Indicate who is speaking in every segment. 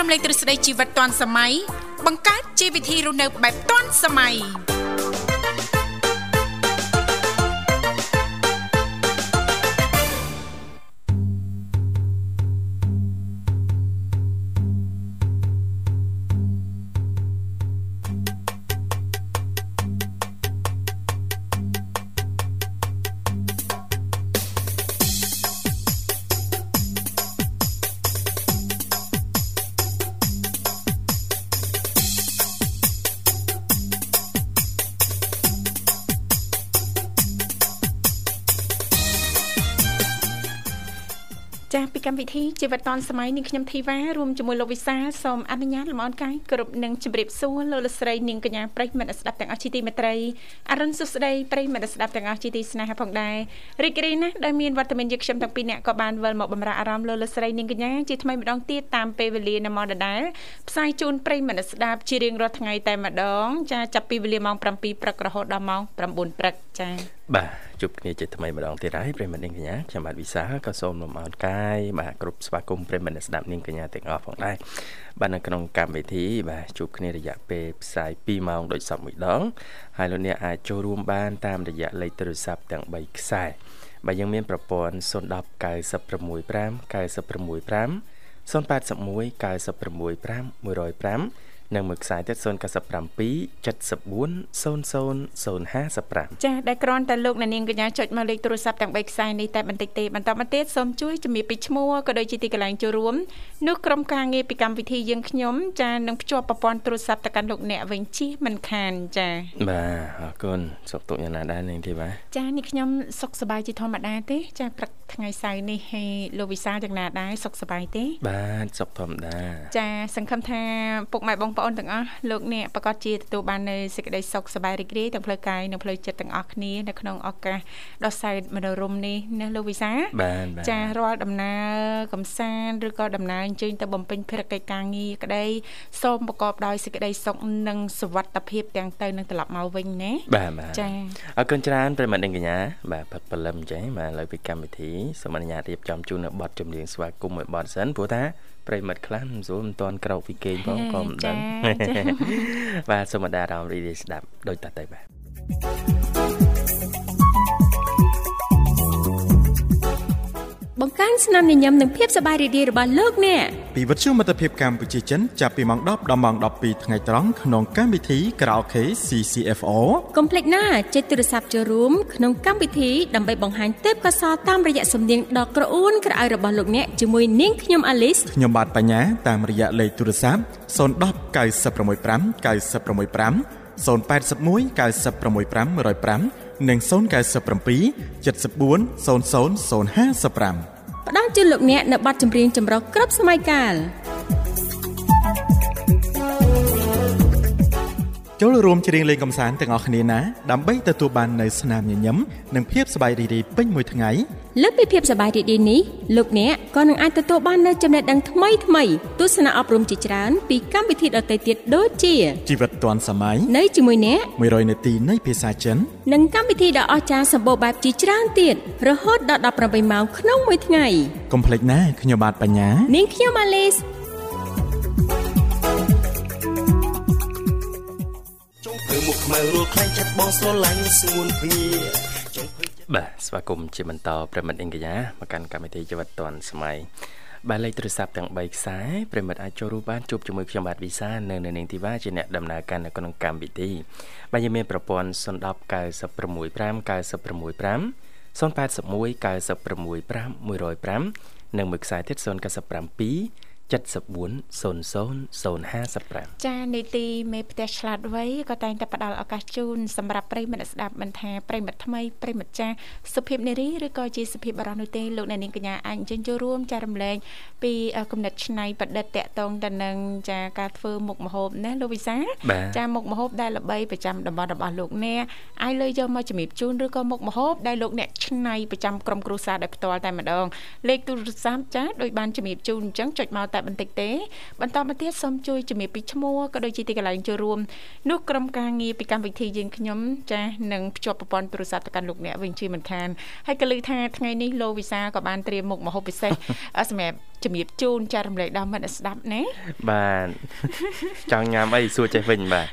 Speaker 1: រំលែកទ្រឹស្ដីជីវិតទាន់សម័យបង្កើតជីវវិធីរស់នៅបែបទាន់សម័យចាស់ពីកម្មវិធីជីវិតទាន់សម័យនាងខ្ញុំធីវ៉ារួមជាមួយលោកវិសាលសូមអនុញ្ញាតលំអរកាយគ្រប់នឹងជម្រាបសួរលោកលកស្រីនាងកញ្ញាប្រិយមិត្តអ្នកស្ដាប់ទាំងអស់ជាទីមេត្រីអរុនសុស្ដីប្រិយមិត្តអ្នកស្ដាប់ទាំងអស់ជាទីស្នេហាផងដែររីករាយណាស់ដែលមានវត្តមានយកខ្ញុំទាំងពីរអ្នកក៏បានវិលមកបម្រើអារម្មណ៍លោកលកស្រីនាងកញ្ញាជាថ្មីម្ដងទៀតតាមពេលវេលានៅម៉ោងដដែលផ្សាយជូនប្រិយមិត្តអ្នកស្ដាប់ជារៀងរាល់ថ្ងៃតែម្ដងចាចាប់ពីវេលាម៉ោង7ព្រឹករហូតដល់ម៉ោង9ព្រឹកចា៎
Speaker 2: បាទជួបគ្នាជាថ្មីម្ដងទៀតហើយប្រិយមិត្តនាងកញ្ញាខ្ញុំបាទវិសាលក៏សូមលំអរកាយបាទគ្រប់ស្វាគមន៍ប្រិយមិត្តអ្នកស្ដាប់នាងកញ្ញាទាំងអស់ផងដែរបាទនៅក្នុងកម្មវិធីបាទជួបគ្នារយៈពេលផ្សាយ2ម៉ោងដោយសពមួយដងហើយលោកអ្នកអាចចូលរួមបានតាមរយៈលេខទូរស័ព្ទទាំង3ខ្សែបាទយើងមានប្រព័ន្ធ010 965 965 081965105និងមួយខ្សែទៀត0977400055
Speaker 1: ចាស់ដែលគ្រាន់តែលោកអ្នកនាងកញ្ញាចុចមកលេខទូរស័ព្ទទាំង3ខ្សែនេះតែបន្តិចទេបន្តមកទៀតសូមជួយជំរាបពីឈ្មោះក៏ដូចជាទីកន្លែងចូលរួមនោះក្រុមការងារពីកម្មវិធីយើងខ្ញុំចាស់នឹងភ្ជាប់ប្រព័ន្ធទូរស័ព្ទទៅកាន់លោកអ្នកវិញជិះមិនខានចាស់
Speaker 2: បាទអរគុណសុខទុក្ខយ៉ាងណាដែរនាងធីវ៉ា
Speaker 1: ចាស់នេះខ្ញុំសុខសប្បាយជាធម្មតាទេចាស់ព្រឹកថ្ងៃសៅរ៍នេះហេលោកវិសាលយ៉ាងណាដែរសុខសប្បាយទេ
Speaker 2: បាទសុខធម្មតា
Speaker 1: ចាសង្ឃឹមថាពុកម៉ែបងប្អូនទាំងអស់លោកអ្នកប្រកាសជាទទួលបាននូវសេចក្តីសុខសប្បាយរីករាយទាំងផ្លូវកាយនិងផ្លូវចិត្តទាំងអស់គ្នានៅក្នុងឱកាសដ៏សែនមនោរម្យនេះណាលោកវិសា
Speaker 2: បាទបាទ
Speaker 1: ចារាល់ដំណើរកំសាន្តឬក៏ដំណើរអញ្ជើញទៅបំពេញភារកិច្ចការងារក្តីសូមប្រកបដោយសេចក្តីសុខនិងសុវត្ថិភាពទាំងទៅនឹងត្រឡប់មកវិញណា
Speaker 2: បាទបាទ
Speaker 1: ចា៎
Speaker 2: អរគុណច្រើនប្រិយមិត្តនាងកញ្ញាបាទផឹកព្រលឹមអញ្ចឹងបាទឥឡូវពីកម្មវិធីសូមអនុញ្ញាតរៀបចំជូននៅប័ណ្ណចម្រៀងស្វាគមន៍មួយប័ណ្ណសិនព្រោះថាប្រិយមិត្តខ្លះមិនស្រួលមិនតាន់ក្រោកពីគេងផងក៏មិនដឹ
Speaker 1: ចា៎
Speaker 2: ង បាទសូមអដារអារម្មណ៍រីករាយស្ដាប់ដូចតទៅបាទ
Speaker 3: បង្កើនស្នាមញញឹមនិងភាពសប្បាយរីករាយរបស់លោកអ្នក
Speaker 4: ពីវិទ្យុមិត្តភាពកម្ពុជាចិនចាប់ពីម៉ោង10ដល់ម៉ោង12ថ្ងៃត្រង់ក្នុងកម្មវិធី Karaoke CCFO
Speaker 3: កុំភ្លេចណាចុចទូរស័ព្ទចូលរួមក្នុងកម្មវិធីដើម្បីបង្ហាញទេពកោសល្យតាមរយៈសំនៀងដ៏ក្រអួនក្រអៅរបស់លោកអ្នកជាមួយនាងខ្ញុំអាលីស
Speaker 4: ខ្ញុំបាទបញ្ញាតាមរយៈលេខទូរស័ព្ទ010 965 965 081 965 105និង097 74 00055
Speaker 3: ផ្ដល់ជូនលោកអ្នកនៅប័ណ្ណចម្រៀងចម្រុះគ្រប់សម័យកាល
Speaker 4: ចូលរួមច្រៀងលេងកម្សាន្តទាំងអស់គ្នាណាដើម្បីទទួលបាននូវស្នាមញញឹមនិងភាពសប្បាយរីករាយពេញមួយថ្ងៃ
Speaker 3: លើសពីភាពសប្បាយរីករាយនេះលោកអ្នកក៏នឹងអាចទទួលបាននូវចំណេះដឹងថ្មីថ្មីទស្សនៈអប់រំជាច្រើនពីកម្មវិធីដទៃទៀតដូចជា
Speaker 4: ជីវិតទាន់សម័យ
Speaker 3: នៅជាមួយអ្នក
Speaker 4: 100នាទីនៃភាសាចិន
Speaker 3: និងកម្មវិធីដ៏អស្ចារ្យសម្បូរបែបជាច្រើនទៀតរហូតដល់18ម៉ោងក្នុងមួយថ្ងៃ
Speaker 4: កុំភ្លេចណាខ្ញុំបាទបញ្ញា
Speaker 3: នាងខ្ញុំអាលីស
Speaker 5: ចុងភៅមុខខ្មៅរួលខ្លាំងចិត្តបងស្រឡាញ់ស្ងួនភ្ងាចុងភៅ
Speaker 2: បាទស្វាគមន៍ជាបន្តប្រិមត្តអង្គញ្ញាមកកាន់កម្មវិធីជីវិតឌွန်សម័យបាទលេខទូរស័ព្ទទាំង3ខ្សែប្រិមត្តអាចចូលរួមបានជួបជាមួយខ្ញុំបាទវិសានៅនៅនាងធីវ៉ាជាអ្នកដំណើរការនៅក្នុងកម្មវិធីបាទយើងមានប្រព័ន្ធ010 965 965 081965105និងមួយខ្សែទៀត097 740055
Speaker 1: ចានីតិមេផ្ទះឆ្លាតវៃក៏តែងតែផ្ដល់ឱកាសជូនសម្រាប់ប្រិយមិត្តអ្នកស្ដាប់មិនថាប្រិយមិត្តថ្មីប្រិយមិត្តចាស់សុភាពនារីឬក៏ជាសុភាពបរិសុទ្ធនោះទេលោកអ្នកនាងកញ្ញាអាចអញ្ជើញចូលរួមចារំលែកពីគំនិតឆ្នៃប្រឌិតតកតងទៅនឹងចាការធ្វើមុខម្ហូបណាលោកវិសាល
Speaker 2: បាទ
Speaker 1: ចាមុខម្ហូបដែលល្បីប្រចាំតំបន់របស់លោកអ្នកអាចលើយកមកជំរាបជូនឬក៏មុខម្ហូបដែលលោកអ្នកឆ្នៃប្រចាំក្រុមគ្រួសារដោយផ្ទាល់តែម្ដងលេខទូរស័ព្ទចាដូចបានជំរាបជូនអញ្ចឹងចុចមកតែ បន្តិចទេបន្តមកទៀតសូមជួយជំរាបពីឈ្មោះក៏ដូចជាទីកន្លែងចូលរួមនោះក្រុមការងារពីកម្មវិធីយើងខ្ញុំចាស់នឹងភ្ជាប់ប្រព័ន្ធទូរស័ព្ទទៅកាន់លោកអ្នកវិញជាមិនខានហើយក៏លើកថាថ្ងៃនេះលោកវិសាលក៏បានត្រៀមមុខម្ហូបពិសេស សម្រាប់ជំរាបជូនចាស់រំលែកដល់មិត្តអ្នកស្ដាប់ណា
Speaker 2: បាទ ចង់ញ៉ាំអីសួរចេះវិញបាទ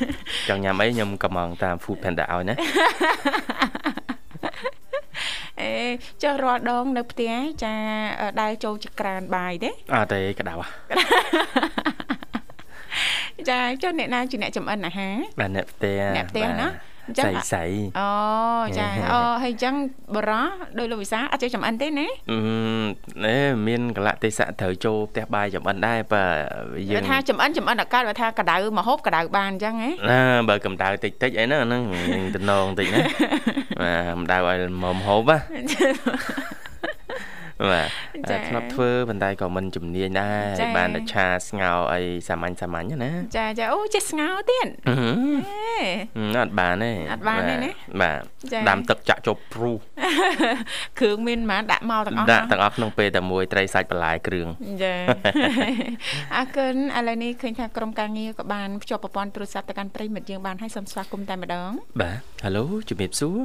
Speaker 2: ចង់ញ៉ាំអីខ្ញុំកំងតាម Food Panda ឲ្យណា
Speaker 1: អេចុះរាល់ដងនៅផ្ទះចាដែលចូលចក្រានបាយទេ
Speaker 2: អត់ទេក្តៅហ่ะ
Speaker 1: ចាចុះអ្នកណាជាអ្នកចំអិនអាហារ
Speaker 2: បាទអ្នកផ្ទះ
Speaker 1: អ្នកផ្ទះណាអញ្ចឹង
Speaker 2: ចៃសៃ
Speaker 1: អូចាអូហើយអញ្ចឹងបរោះដោយលោកវិសាអត់ចេះចំអិនទេណា
Speaker 2: អឺមអេមានកលៈទេសៈត្រូវចូលផ្ទះបាយចំអិនដែរបើយើ
Speaker 1: បើ
Speaker 2: ង
Speaker 1: ថាចំអិនចំអិនអត់កើតបើថាកដៅមកហូបកដៅបានអញ្ចឹងហ៎
Speaker 2: ណាបើកម្ដៅតិចតិចអីហ្នឹងអាហ្នឹងយើងតំណងតិចណា បាទកម្ដៅឲ្យមុំហូបណាបាទ
Speaker 1: ចា៎
Speaker 2: តែធ្លាប់ធ្វើប៉ុន្តែក៏មិនជំនាញដែ
Speaker 1: ចា៎
Speaker 2: របានតែឆាស្ងោរអីសាមញ្ញសាមញ្ញណា
Speaker 1: ចាចាអូចេះស្ងោរទៀត
Speaker 2: អឺហឹ ម
Speaker 1: ហេ
Speaker 2: អឺអត់បានទេ
Speaker 1: អត់បានទេណា
Speaker 2: បាទ
Speaker 1: ចា៎
Speaker 2: ដាំទឹកចាក់ចូលព្រុស
Speaker 1: គ្រឿងមានប៉ុន្មានដាក់មកទាំងអស់
Speaker 2: ដា
Speaker 1: ហ៎
Speaker 2: ក់ទាំងអស់ក្នុងពេលតែមួយត្រីសាច់បន្លែគ្រឿង
Speaker 1: ចា អរគុណឥឡូវនេះឃើញថាក្រុមការងារក៏បានភ្ជាប់ប្រព័ន្ធទូរស័ព្ទទៅកាន់ប្រិមិត្តយើងបានហើយសូមស្វាគមន៍តែម្ដង
Speaker 2: បាទហេឡូជំរាបសួរ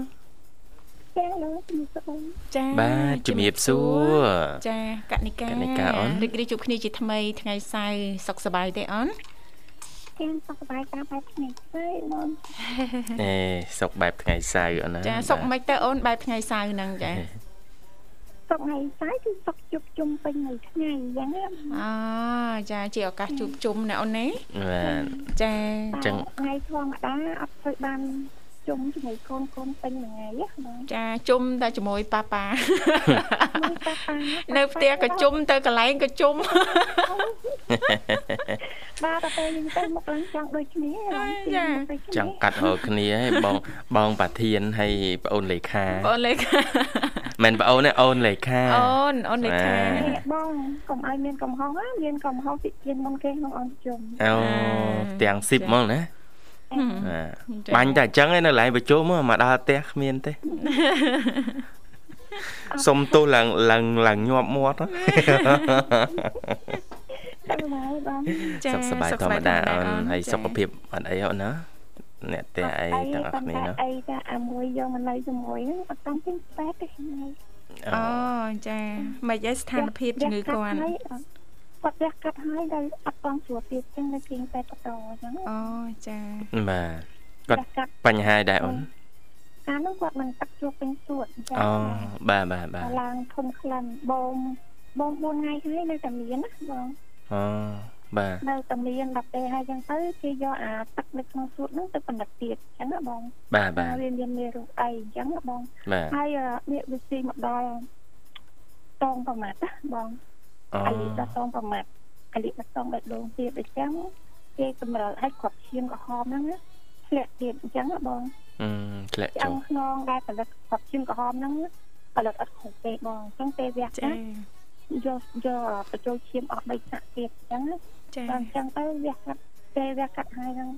Speaker 6: ចាឥឡូវជំរាបសួរ
Speaker 1: ចា
Speaker 2: បាទជំរាបសួរ
Speaker 1: ចាកនិកា
Speaker 2: កនិកាអូន
Speaker 1: រីករាយជួបគ្នាជាថ្មីថ្ងៃសៅរ៍សុខសប្បាយទេអូន
Speaker 6: ចាសុខសប្បាយតាមបែបគ្នាទេអូន
Speaker 2: អេសុកបែបថ្ងៃសៅរ៍អូនណា
Speaker 1: ចាសុខ
Speaker 2: បាទ
Speaker 1: មិនទៅអូនបែបថ្ងៃសៅរ៍ហ្នឹងចា
Speaker 6: សុខថ្ងៃស្អែកគឺសុខជប់ជុំពេញមួយថ្ងៃអញ្ចឹងណា
Speaker 1: អូចាជាឱកាសជួបជុំណាអូនណា
Speaker 2: បាទ
Speaker 1: ចា
Speaker 2: ចឹង
Speaker 6: តែថ្ងៃធម្មតាអត់ធ្វើបានជុំជាមួយកូនកូនពេញមួយថ្ងៃណាបង
Speaker 1: ចាជុំតែជាមួយប៉ា ប៉ា
Speaker 6: មួយប៉ាប៉ា
Speaker 1: នៅផ្ទះក៏ជុំទៅកន្លែងក៏ជុំ
Speaker 6: បាទតែពេលយើងទៅមុខឡើងចង់ដូចគ្នាឡើង
Speaker 1: ចា
Speaker 6: ពីមុខដូចគ្នា
Speaker 2: ចង់កាត់រកគ្នាឲ្យបងបងប្រធានហើយប្អូនលេខា
Speaker 1: អូនលេខា
Speaker 2: មិនប្អូនទេអូនលេខា
Speaker 1: អូនអូនលេខា
Speaker 2: បាទ
Speaker 6: នេះបងកុំឲ្យមានកំហុសណាមានកំហុសពីជៀនមុនគេក្នុងអង្គជុំ
Speaker 2: អូទាំង10ហ្មងណាបាទបាញ់តែអញ្ចឹងឯងនៅកន្លែងប្រជុំហ៎មកដល់ផ្ទះគ្មានទេ សុំទោសឡើងឡើងឡើងញាប់មាត់ហ៎
Speaker 6: ទៅមកបង
Speaker 2: សុខសប្បាយធម្មតាអូនហើយសុខ
Speaker 1: ភ
Speaker 2: ភាពអត់អីអូនណាអ្នកផ្ទះអីទាំងអស់គ្នាណា
Speaker 6: អីចាអាមួយយកមកនៅជាមួយហ្នឹងអត់តាំងពីស្បែកទេថ្ងៃ
Speaker 2: អូ
Speaker 1: អូចាមិនឯស្ថានភាពជំងឺគាត់
Speaker 6: គាត់រះកាត់ហើយដល់អត់បងស្រួលទៀតចឹងនៅគីងតែបតអញ្ចឹង
Speaker 1: អូចា
Speaker 2: បាទគាត់
Speaker 6: រះកាត់
Speaker 2: បញ្ហាដែរអូន
Speaker 6: កាលនោះគាត់មិនទឹកជួបពេញសួតអញ្ចឹ
Speaker 2: អូបាទបាទបាទ
Speaker 6: ឡើងធំខ្លាំងបងបង4ថ្ងៃហើយនៅតែមានណាបង
Speaker 2: អូបាទ
Speaker 6: នៅតែមាន10ពេលហើយអញ្ចឹងទៅគេយកអាទឹកនៅក្នុងសួតហ្នឹងទៅបណ្ឌិតទៀតអញ្ចឹងណាបង
Speaker 2: បាទបាទ
Speaker 6: រៀនរៀនមានរូបអីអញ្ចឹងណាបង
Speaker 2: បាទ
Speaker 6: ហើយនេះវាស៊ីមកដល់តងប្រមាត់ណាបង
Speaker 2: អូ
Speaker 6: អាលីដល់តងប្រមាត់អាលីដល់តងបែបដងទៀតអញ្ចឹងគេកម្រិលឲ្យគាត់ឈាមក្រហមហ្នឹងណាធ្លាក់ទៀតអញ្ចឹងណាបង
Speaker 2: អឺធ្លាក់
Speaker 6: ឆ្អឹ
Speaker 2: ចុះ
Speaker 6: ងខ្នងដែលផលិតគាត់ឈាមក្រហមហ្នឹងផលិតអត់គ្រប់ទេបងអញ្ចឹងពេលវះ
Speaker 1: ចា
Speaker 6: ណាយកយកបញ្ចូលឈាមអស់បីឆ្នាំទៀតអញ្ចឹងណា
Speaker 1: ចា
Speaker 6: ដល់អញ្ចឹងទៅវះកាត់ពេលវះកាត់ហើយហ្នឹង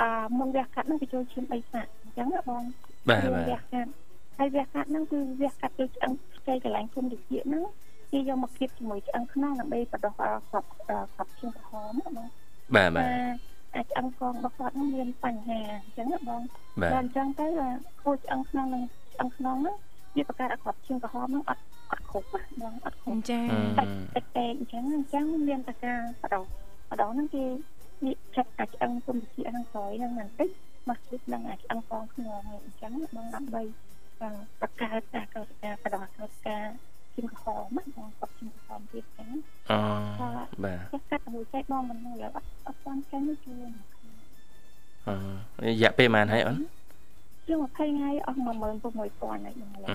Speaker 6: អឺមុនវះកាត់ហ្នឹងបញ្ចូលឈាមបីឆ្នាំអញ្ចឹងណាបង
Speaker 2: បាទ
Speaker 6: វ
Speaker 2: បាទ
Speaker 6: ះកាត់ហើយវះកាត់ហ្នឹងគឺវះកាត់ដូចឆ្អឹងផ្ទៃកន្លែងគុំវិជាហ្នឹងគេយកមកគៀបជាមួយឆ្អឹងខ្នងដើម្បីបដោះខប់ខប់ឈាមក្រហមណាបង
Speaker 2: បាទបាទ
Speaker 6: អាចឆ្អឹងកងរបស់គាត់ហ្នឹងមានបញ្ហាអញ្ចឹងណាបង
Speaker 2: បាទ
Speaker 6: ដល់អញ្ចឹងទៅអាខូចឆ្អឹងខ្នងហ្នឹងឆ្អឹងខ្នងហ្នឹងវាបង្កើតឲ្យខប់ឈាមក្រហមហ្នឹងអត់អត់គ្រប់ណាបងអត់គ្រប់
Speaker 1: ចា
Speaker 2: អឺ
Speaker 6: តិចតែអញ្ចឹងអញ្ចឹងមានតការបដោះបដោះហ្នឹងគេនិយាយចាត់អាចឆ្អឹងគុំវិជាហ្នឹងក្រោយហ្នឹងបន្តិចមកគៀបនឹងអាចឆ្អឹងកងខ្នងហ្នឹងអញ្ចឹងណាបងដើម្បី បកកើតអាកោសិកាបដោះអាកោសិកាជំហរមកបងគាត់ជំហរទៀតចឹង
Speaker 2: អូបាទ
Speaker 6: ចាស់កាត់មួយចែកបងមិនហ្នឹងឥឡូវអត់អត់ស្គាល់ចាញ់ទេជឿ
Speaker 2: អឺរយៈពេលប៉ុន្មានហើយអូន
Speaker 6: ជឿ20ថ្ងៃអស់16000ហើយបងឥឡូវ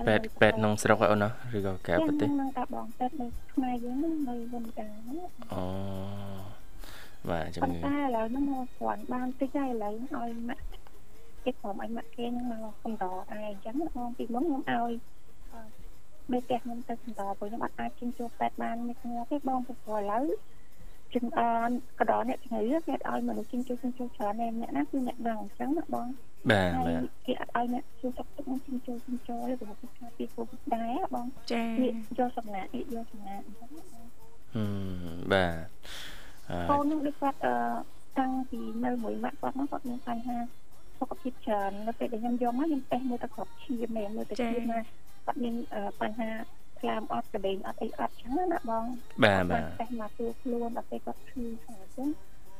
Speaker 2: ពេទ្យពេទ្យក្នុងស្រុកហើយអូនណាឬក៏ក្រៅប្រទេស
Speaker 6: ហ្នឹងតាបងពេទ្យនៅខ្មែរយើងហ្នឹងនៅវិនកាហ្នឹង
Speaker 2: អូបាទជំ
Speaker 6: ប៉ុ
Speaker 2: ងឺ
Speaker 6: ន្តែឥឡូវហ្នឹងមកគ្រាន់បានតិចហើយឥឡូវឲ្យម៉ាក់គេព្រមឲ្យម៉ាក់គេហ្នឹងមកកំដរឯងអញ្ចឹងបងពីមុនខ្ញុំឲ្យមេផ្ទះខ្ញុំទៅកំដរព្រោះខ្ញុំអត់អាចជិញ្ជួបពេទ្យបានមួយគ្នាទេបងព្រោះឥឡូវ ជំអន់កដរអ្នកជំងឺគេឲ្យមនុស្សជំងឺជំងឺច្រើនឯងអ្នកណាគឺអ្នកដឹងអញ្ចឹងណាបង
Speaker 2: បាទ
Speaker 6: ហើ
Speaker 2: បាទ
Speaker 6: យគេអត់ឲ្យអ្នកជួយសុខទុក្ខនឹងជំងឺជំងឺលើប្រហែលពីពីគូដែរបង
Speaker 1: ចា
Speaker 6: នេះយកសំណាក់នេះយកសំណាក់អញ្ចឹងណាបង
Speaker 2: អ ហឹមបាទអ
Speaker 6: កូននឹងដូចគាត់អឺតាំងពីនៅមួយម៉ាក់គាត់ហ្នឹងគាត់មានបញ្ហាសុខភាពច្រើននៅពេលដែលខ្ញុំយកមកខ្ញុំតេស្តមើលតែក្របឈាមមែនមើលតែ
Speaker 1: ចា៎
Speaker 6: ឈាមណាគាត់មានអឺបញ្ហាក្លាមអត់កដេងអត់អីអត់ចឹងណាណាបង
Speaker 2: ឺបាទបាទ
Speaker 6: គាត់តេស្តមកទូខ្លួនដល់ពេលគាត់ឈឺខ្លាំងចឹង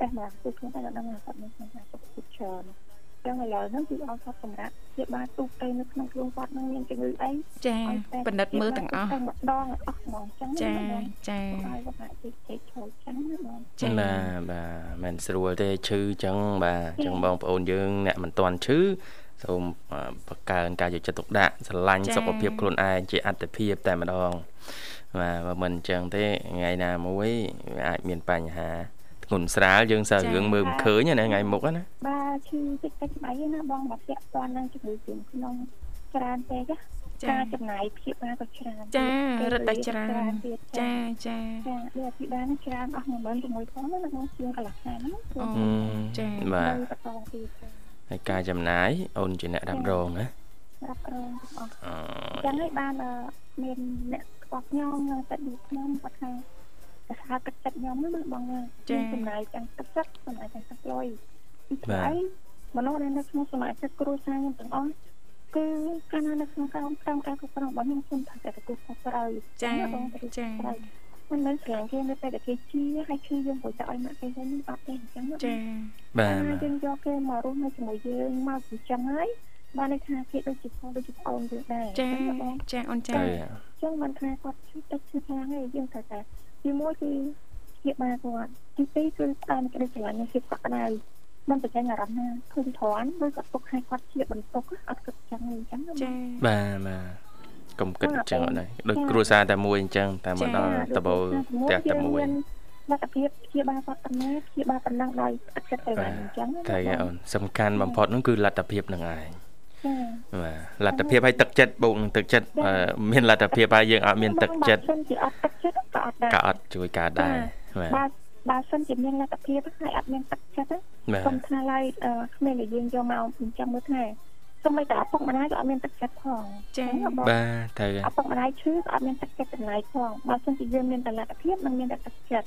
Speaker 6: តេស្តមកទូខ្លួនតែដល់ដឹងថាគាត់មានបញ្ហាសុខភាពច្រើនចឹងឥឡូវហ្នឹងគឺអត់គាត់សម្រាប់ព្យាបាលទូទៅនៅក្នុងខ្លួនគាត់ហ្នឹងមានជំងឺអី
Speaker 1: ចា
Speaker 6: ឲ្យតេស្ត
Speaker 1: បណ្ឌិតមើលទាំងអស់
Speaker 6: ព្យាបាលទូទៅម្ដងឲ្យអស់ហ្មងចឹង
Speaker 1: ចា
Speaker 6: ណាបង
Speaker 1: ចា
Speaker 6: ឲ្យគាត់អាចជិះជិះឈរចឹងណាបង
Speaker 1: ចា
Speaker 2: បាទបាទមិនស្រួលទេឈឺអញ្ចឹងបាទអញ្ចឹងបងប្អូនយើងអ្នកមិនទាន់ឈឺសូមអឺបង្កើនការយកចិត្តទុកដាក់ស្រឡាញ់សុខភាពខ្លួនឯងជាអត្តភាពតែម្ដងបាទបើមិនអញ្ចឹងទេថ្ងៃណាមួយវាអាចមានបញ្ហាធ្ងន់ស្រាលយើងសើរឿងមើលមិនឃើញណាថ្ងៃមុខហ្នឹងណា
Speaker 6: បាទឈឺតិចតិចស្បែកឯណាបងមកពាក់ព័ន្ធនឹងជំងឺជាងក្នុងច្រើនពេកណា
Speaker 1: ចា
Speaker 6: ការចំណាយព្យាបាលក៏ច្រើន
Speaker 1: ចា
Speaker 6: ទៀត
Speaker 1: រត់តែច្រើន
Speaker 6: ពេលវេលាទៀត
Speaker 1: ចាចា
Speaker 6: ចាលើអភិបាលនឹងច្រើនអស់16000ផងណាបងជាងកន្លះខែហ្នឹង
Speaker 1: អូ
Speaker 2: អឺ
Speaker 1: ចា
Speaker 2: បាទ
Speaker 6: នៅបន្តទៀតចា
Speaker 2: ហើយការចំណាយអូនជាអ្នករ៉ាប់រងណា
Speaker 6: រាប់រងទាំងអស់
Speaker 2: អ
Speaker 6: អញ្ចឹងហើយបានអឺមានអ្នកស្គាល់ខ្ញុំនៅតែឌីខ្ញុំគាត់ថាប្រសាទឹកចិត្តខ្ញុំហ្នឹងណាបងណាមានចំណាយទាំងទឹកចិត្តចំណាយទាំងទឹកលុយពីស្អីមនុស្សដែលនៅក្នុងសមាជិកគ្រួសារខ្ញុំទាំងអស់គឺកាលណានៅក្នុងក្រុមក្រុមការគ្រប់គ្រងរបស់ខ្ញុំខ្ញុំថាតែទទួលខុសត្រូវ
Speaker 1: ចា
Speaker 6: ណាបងទទួលខុស
Speaker 1: ចា
Speaker 6: ត្រូវមិនមែនស្រឡាញ់គេនៅពេលដែលគេជាហើយឈឺយើងព្រោះតែឲ្យមកគេវិញអត់ទេអញ្ចឹងណា
Speaker 1: ចា
Speaker 2: ឺបាទ
Speaker 6: តែ
Speaker 2: បាទ
Speaker 6: យើងយកគេមករស់នៅជាមួយយើងមកចិញ្ចឹមហើយបានន័យថាគេដូចជាផងដូចជាប្អូនយើងដែរ
Speaker 1: ចា
Speaker 6: អញ្ចឹងបង
Speaker 1: ចាអូនចា
Speaker 2: ទៅ
Speaker 6: អញ្ចឹងមិនថាគាត់ឈឺទឹកឈឺខ្លាំងទេយើងត្រូវតែទីមួយគឺជាបាលគាត់ទីពីរគឺតាមក្តីស្រឡាញ់និងភាពកក់ក្តៅមិនប្រកាន់អារម្មណ៍ណាធុញទ្រាន់ឬក៏ទុកឲ្យគាត់ជាបន្ទុកអត់គិតចឹងទេអញ្ចឹងណាបង
Speaker 1: ចា
Speaker 2: បាទបាទកុំគិតអញ្ចឹងអត់ដែរដូច
Speaker 6: ចា៎
Speaker 2: គ្រួសារតែមួយអញ្ចឹងតែមកដល់
Speaker 6: ចា
Speaker 2: តបោផ្ទះតែមួយ
Speaker 6: យើងលទ្ធភាពជាបាលគាត់ប៉ុណ្ណាជាបាលប៉ុណ្ណឹងដោយអត់គិតទៅ
Speaker 2: បា
Speaker 6: ណា
Speaker 2: ទ
Speaker 6: អញ្ចឹងណា
Speaker 2: តែ
Speaker 6: បង
Speaker 2: អូនសំខាន់បំផុតហ្នឹងគឺលទ្ធភាពនឹងឯង
Speaker 6: ចា
Speaker 2: បាទលទ្ធភាពឲ្យទឹកចិត្តបូកនឹងទឹកចិត្ត
Speaker 6: ចា៎
Speaker 2: បើមានលទ្ធភាពឲ្យយើងអត់មានទឹកចិត្ត
Speaker 6: បើសិនជាអត់ទឹកចិត្ត
Speaker 2: ក៏
Speaker 6: ក៏អត់ដែរ
Speaker 2: អត់ជួយការដែរបាទ
Speaker 6: បាទបើសិនជាមានលទ្ធភាពហើយអត់មានទឹកចិត្តទេ
Speaker 2: បាទ
Speaker 6: សូមថាឡើយអឺគ្មានដែលយើងយកមកចិញ្ចឹមមើលថែសូម្បីតែឪពុកម្ដាយក៏អត់មានទឹកចិត្តផង
Speaker 1: ចា៎
Speaker 6: ណាបង
Speaker 2: បាទទៅ
Speaker 6: ឪពុកម្ដាយឈឺក៏អត់មានទឹកចិត្តចំណាយផងបើសិនជាយើងមានតែលទ្ធភាពនិងមានតែទឹកចិត្ត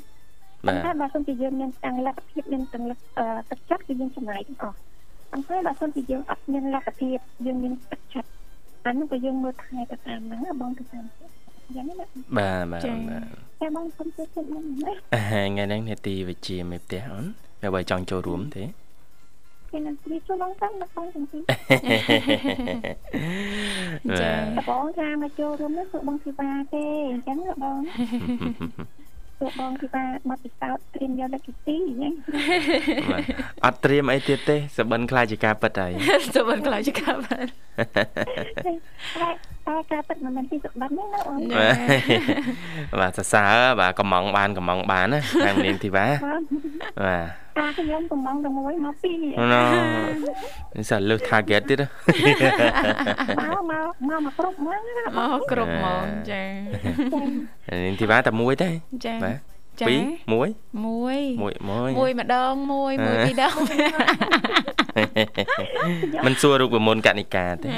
Speaker 2: បា
Speaker 6: តែ
Speaker 2: ទ
Speaker 6: បើសិនជាយើងមានទាំងលទ្ធភាពមានទាំងលទ្ធអឺទឹកចិត្តគឺយើងចំណាយទាំងអស់អំពីបើសិនជាយើងអត់មានលទ្ធភាពយើងមានទឹកចិត្តអានោះក៏យើងមើលថែទៅតាមហ្នឹងណាបងទៅតាមយ៉ាងណាណា
Speaker 2: បាទបាទ
Speaker 1: ចា៎
Speaker 2: បាទ
Speaker 6: តែបងសូមជឿចិត្តខ្ញុំណា
Speaker 2: អាហាថ្ងៃហ្នឹងនេតិវិជាមេផ្ទះអូនបើបើចង់ចូលរួមទេ
Speaker 6: គេនឹងព្រៀបចូលឡើងតាមដល់បងទាំងពីរ
Speaker 2: បាទ
Speaker 6: តើបងថាមកចូលរួមនេះគឺបងធីបាទេអញ្ចឹងណាបងគឺបងធីបាមកពិសោធន៍ត្រៀមយកលេខទី2អញ្ចឹង
Speaker 2: បាទអត់ត្រៀមអីទៀតទេសបិនខ្លាចជាការប៉ិតហើយ
Speaker 1: សូមបានខ្លោចចកាបាន
Speaker 6: តែតែការពិតមិនមែនទីសម្បត្តិទេណាបង
Speaker 1: ចា៎
Speaker 2: បាទសរសើរបាទកំងបានកំងបានណាខាងនាងធីវ៉ា
Speaker 6: បង
Speaker 2: បាទ
Speaker 6: តាខ្ញុំកំងតែមួយមកពីរ
Speaker 2: ណូនេះសារលើស target ទៀតណា
Speaker 6: មកមកមកមកគ្រប់ហ្មងណាបង
Speaker 1: មកគ្រប់ហ្មងចា
Speaker 2: នាងធីវ៉ាតែមួយទេ
Speaker 1: ចា
Speaker 2: បាទ
Speaker 1: ចា
Speaker 2: ពីរមួយ
Speaker 1: មួយ
Speaker 2: មួយមួយ
Speaker 1: មួយម្ដងមួយមួយ
Speaker 2: អ่า
Speaker 1: ពីរដង
Speaker 2: មិនសួររូបមន្តកនិកាទេ
Speaker 1: ចា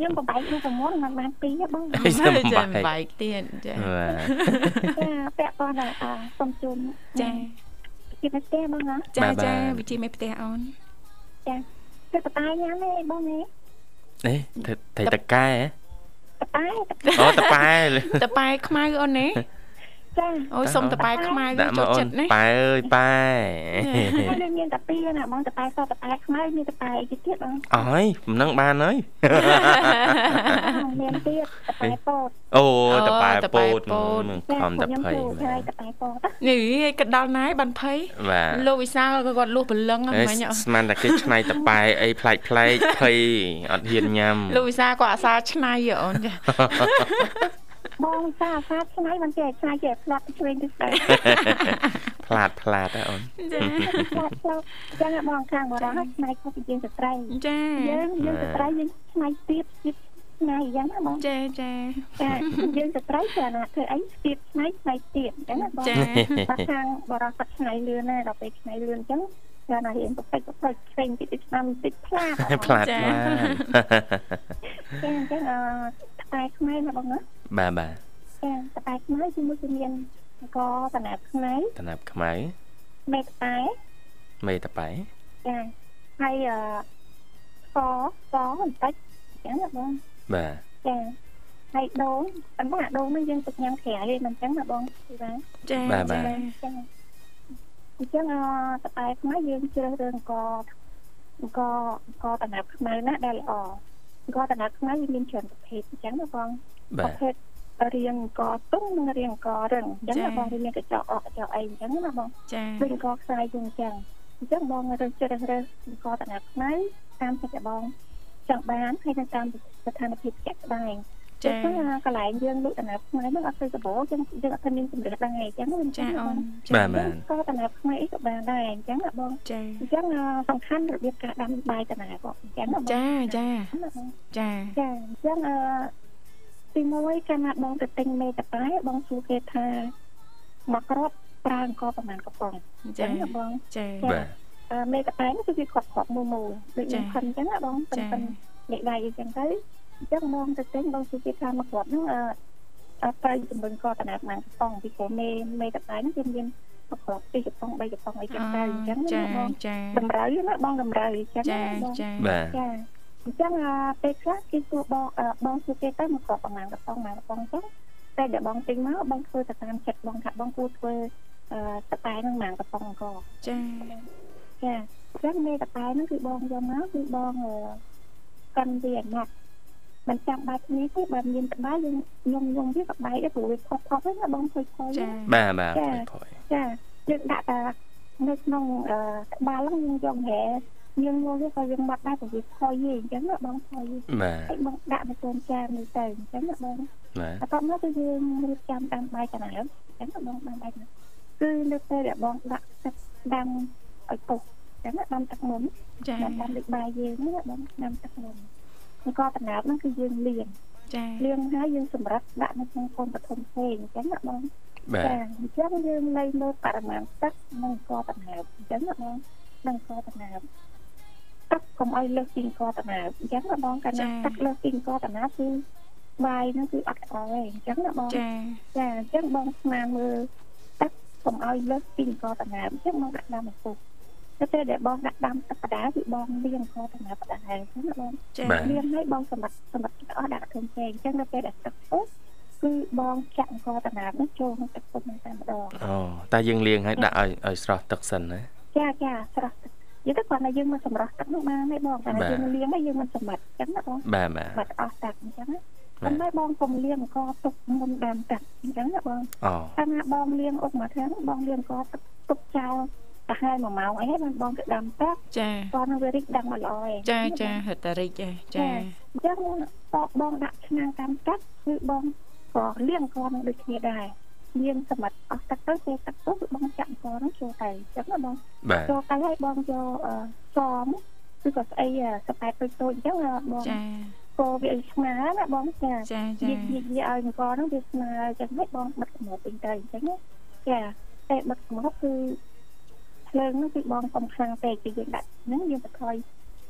Speaker 6: ខ្ញុំបបែករូបមុនមិនបានពីរទេបង
Speaker 2: អីសំបាយ
Speaker 1: ចាបែកទៀតចា
Speaker 2: បាទ
Speaker 6: ចាពាក់ព័ន្ធនឹងអ่าសូមជូន
Speaker 1: ចា
Speaker 6: ពីនេះទេបងណា
Speaker 1: ចាចាវិជាមេផ្ទះអូន
Speaker 6: ចាទឹកបតាយញ៉ាំទេបងណា
Speaker 2: អេថៃតកែហ៎
Speaker 6: បតាយ
Speaker 2: អូតប៉ែល
Speaker 1: តប៉ែខ្មៅអូនណា
Speaker 6: ចា
Speaker 1: អូយសុំតប៉ែខ្មៅ
Speaker 2: ដាក់មក
Speaker 1: ចូល
Speaker 2: អូន
Speaker 1: ចិត្តណា
Speaker 2: ប៉ែអើយប៉ែ
Speaker 6: ហើយនៅមានតែពីរណាបងតែសតតែខ្មៅមានតែតែឯទៀតបង
Speaker 2: អើយមិននឹងបានហើយ
Speaker 6: អត់មានទៀតតប៉ែពោត
Speaker 2: អូ
Speaker 1: អូ
Speaker 2: តប៉ែ
Speaker 1: តប៉ែ
Speaker 2: ពោត
Speaker 1: ពោត
Speaker 2: នឹងខំត
Speaker 6: ខ្ញុំ
Speaker 2: ភ័យ
Speaker 6: ពោតហើយតប៉ែពោត
Speaker 1: នេះឯងក៏ដល់ណាយបានភ័យ
Speaker 2: បាទ
Speaker 1: លោកវិសាលក៏គាត់លួសព្រលឹងហ្ម
Speaker 2: អេ
Speaker 1: ងអូន
Speaker 2: ស្មានតែគេឆ្នៃតប៉ែអីផ្លែកផ្លែកភ័យអត់ហ៊ានញ៉ាំ
Speaker 1: លោកវិសាលក៏អាសាឆ្នៃហ៎អូនចា
Speaker 6: បងសាសាឆ្នៃមិនចេះឆ្នៃចេះផ្លាត់ឆ្វេងទៅស្ដា
Speaker 2: ផ្លាតផ្លាតហ៎អូន
Speaker 6: ផ្លាត់ផ្លាត់ចឹងបងខាងបរោះឆ្នៃខុសពីយើងស្ត្រី
Speaker 1: ចា
Speaker 6: យើងយើងស្ត្រីយើងឆ្នៃទៀតទៀតឆ្នៃយ៉ាងណាបង
Speaker 1: ចាចា
Speaker 6: ចាយើងស្ត្រីចាណាធ្វើអីទៀតឆ្នៃឆ្នៃទៀតចឹងណាបង
Speaker 1: ចា
Speaker 6: បាទខាងបរោះគាត់ឆ្នៃលឿនណាស់ដល់ពេលឆ្នៃលឿនចឹងចាណារៀនប្រតិចប្រតិចឆ្វេងតិចតិចឆ្នាំតិចផ្លាត
Speaker 2: ផ្លាតផ្លាត
Speaker 6: ចឹងចឹងអឺតែខ្មែរណាបងណា
Speaker 2: បាទបាទ
Speaker 6: ចា ចាស្បែកខ្មៅជាមួយគឺមានអង្គតំណាប់ខ្មៅ
Speaker 2: តំណាប់ខ្មៅ
Speaker 6: មេតែ
Speaker 2: មេតប៉ែ
Speaker 6: ចាហើយអឺកកបន្តិចអញ្ចឹងណាបង
Speaker 2: បាទ
Speaker 6: ចាហើយដូងប៉ុន្តែអាដូងនេះយើងទុកញ៉ាំក្រៅទេមិនអញ្ចឹងណាបងពីបាន
Speaker 1: ចា
Speaker 2: បាទបាទ
Speaker 6: ចាចាអញ្ចឹងអតបែខ្មៅយើងជ្រើសរើសអង្គអង្គអង្គតំណាប់ខ្មៅណាដែលល្អអង្គតំណាប់ខ្មៅវាមានច្រើនប្រភេទអញ្ចឹងណាបង
Speaker 2: បាទ
Speaker 6: ប្រភេទរៀងអង្គទុំនិងរៀងអង្គរឹងអញ្ចឹងណាបងវាមានកញ្ចក់អកកញ្ចក់អីអញ្ចឹងណាបង
Speaker 1: ចា
Speaker 6: ដូចអង្គខ្សែយើងអញ្ចឹងអញ្ចឹងបងរើសជ្រើសរើសអង្គតំណាប់ខ្មៅតាមចិត្តរបស់បងចង់បានហើយនឹងតាមស្ថានភាពជាក់ស្ដែង
Speaker 1: ចា
Speaker 6: ដូចថាកន្លែងយើងលក់ដំណាប់ខ្មែរហ្នឹងអត់ទៅសម្បូរចឹងយើងអត់ឃើញមានជំរើសដែរអញ្ចឹងណា
Speaker 1: ចាអូន
Speaker 2: បាទបាទ
Speaker 6: ក៏ដំណាប់ខ្មែរអីក៏បានដែរអញ្ចឹងណាបង
Speaker 1: ចា
Speaker 6: អញ្ចឹងអឺសំខាន់របៀបការដាំបាយដំណាប់បងអញ្ចឹងណាបង
Speaker 1: ចាចាចា
Speaker 6: ចាអញ្ចឹងអឺទីមួយកាលណាបងទៅទិញមេតាប៉ែបងសួរគេថាមកគ្រាប់ប្រើអង្គប្រហែលកំប៉ុងអញ្ចឹ
Speaker 1: ចា
Speaker 6: ងណាបង
Speaker 1: ចា
Speaker 2: បាទ
Speaker 6: អឺមេតាប៉ែហ្នឹងគឺវាគ្រាប់គ្រាប់មូលមូលដូច
Speaker 1: ចា
Speaker 6: យើងខិនអញ្ចឹងណាបង
Speaker 1: ចា
Speaker 6: ខិនៗ និយាយអញ្ចឹងទៅអញ្ចឹងមកទៅទិញបងសុជាថាមកគាត់ហ្នឹងអឺអត់ទៅជំនឿក៏តំណាក់មកកប៉ុងពីព្រោះមេមេតតែហ្នឹងគឺមានប្រកបពីកប៉ុង3កប៉ុងអីចឹងទៅអញ្ចឹងណា
Speaker 1: ចា
Speaker 6: បង
Speaker 1: ចា
Speaker 6: តម្រូវណាបងតម្រូវអញ្ចឹង
Speaker 1: ចា
Speaker 6: ណាបង
Speaker 1: ចា
Speaker 2: បាទ
Speaker 6: ចាអញ្ចឹងអឺពេលខ្លះគេសួរបងអឺបងសុជាទៅមកគាត់ប្រហែលកប៉ុងមកកប៉ុងអញ្ចឹងតែដែលបងទិញមកបងធ្វើទៅតាមចិត្តបងថាបងគួរធ្វើអឺតតែហ្នឹងមកកប៉ុងអង្គ
Speaker 1: ចា
Speaker 6: ចាចឹងមេតប៉ែហ្នឹងគឺបងយកមកគឺបងអឺកាន់វាអាណត្តិមិនចាំបាច់គ្នាទេបើមានក្បាលយើងញុំញុំវាក្បាយដែរព្រោះវាខុសខុសហ្នឹងណាបងខុសខុស
Speaker 1: ចា
Speaker 2: បាទបាទព្រួយ
Speaker 6: ចាយើងដាក់តែនៅក្នុងអឺក្បាលហ្នឹងយើងយកហែយើងញុំវាក៏យើងបាត់ដែរព្រោះវាខុសយីអញ្ចឹងណាបងខុសយី
Speaker 2: ព្រួយបាទ
Speaker 6: ហើយបងដាក់នៅក្នុងចាននេះទៅអញ្ចឹងណាបង
Speaker 2: បាទ
Speaker 6: បន្ទាប់មកគឺយើងរៀបចំតាមបាយចំណាំអញ្ចឹងបងបានបាយចំណាំគឺនៅពេលដែលបងដាក់ទឹកដាំឲ្យពុះអញ្ចឹងណាដាំទឹកមុន
Speaker 1: ចា
Speaker 6: ដាំតាមដូចបាយយើងហ្នឹងណាបងដាំទឹកមុននេះក៏ចំណាំហ្នឹងគឺយើងលាង
Speaker 1: ចា
Speaker 6: លាងហើយយើងសម្រាប់ដាក់នៅក្នុងកូនបឋមផ្សេងអញ្ចឹងណាបង
Speaker 2: បាទ
Speaker 6: អញ្ចឹងយើងលើមើលបរិមាណទឹកនិងក៏ចំណាំអញ្ចឹងណាបងនិងក៏ចំណាំទឹកកុំឲ្យលើសពីក៏ចំណាំអញ្ចឹងណាបងកាលណាទឹកលើសពីក៏ចំណាំគឺបាយហ្នឹងគឺអត់ល្អទេអញ្ចឹងណាបង
Speaker 1: ចា
Speaker 6: ចាអញ្ចឹងបងស្មានមើលទឹកកុំឲ្យលើសពីអង្គតំណាមអញ្ចឹងបងដាក់ដាំឲ្យពុះតែពេលដែលបងដាក់ដាំទឹកបដាគឺបងលាងអង្គតំណាមបដាហើយណាបង
Speaker 1: ចា
Speaker 6: លាងឲ្យបងសម្បត្តិសម្បត្តិអស់ដាក់ធំពេកអញ្ចឹងដល់ពេលដែលទឹកពុះគឺបងចាក់អង្គតំណាមនោះចូលក្នុងទឹកពុះហ្នឹងតែម្ដង
Speaker 2: អូតែយើងលាងឲ្យដាក់ឲ្យឲ្យស្រស់ទឹកសិនណា
Speaker 6: ចាចាស្រស់ទឹកនិយាយទៅគាត់ថាយើងមិនសម្រស់ទឹកនោះបានទេបងតែ
Speaker 2: បាទ
Speaker 6: យើងលាងឲ្យយើងមិនសម្បត្តិអញ្ចឹងណាបង
Speaker 2: បាទបាទ
Speaker 6: បាត់អស់ទឹកអញ្ចឹងណាប៉ុន្តែបងកុំលាងអង្គទុកមុនដាំទឹកអញ្ចឹងណាបង
Speaker 2: អូ
Speaker 6: ថាណាបងលៀងអុកមកខាងបងលៀងក៏ទឹកទុកចោលប្រហែល1ម៉ោងអីហ្នឹងបងទៅដាំទឹក
Speaker 1: ចា
Speaker 6: គាត់នឹងវារីកដាំមកល្អឯង
Speaker 1: ចាចាហិតតារិចចា
Speaker 6: អញ្ចឹងតបបងដាក់ឆ្នាំងតាមទឹកគឺបងក៏លៀងក៏នឹងដូចគ្នាដែរលៀងសម្បត្តិអស់ទឹកទៅពេលទឹកពុះគឺបងចាក់ក៏នឹងចូលទៅអញ្ចឹងណាបង
Speaker 2: បាទ
Speaker 6: ចូលទៅហើយបងយកអឺសមគឺក៏ស្អីអឺសប៉ែតតូចតូចអញ្ចឹងណាបង
Speaker 1: ចា
Speaker 6: កោវាឲ្យស្មើណាបងចា
Speaker 1: ចា
Speaker 6: និ
Speaker 1: ចា
Speaker 6: យាយនិយាយឲ្យអង្គរហ្នឹងវាស្មើអញ្ចឹងហិចបងបិទកម្របពេញទៅអញ្ចឹងណាចាតែបិទកម្របគឺភ្លើងហ្នឹងគឺបងសំខាន់ពេកគឺយើងដាក់ហ្នឹងយើងបន្ថយ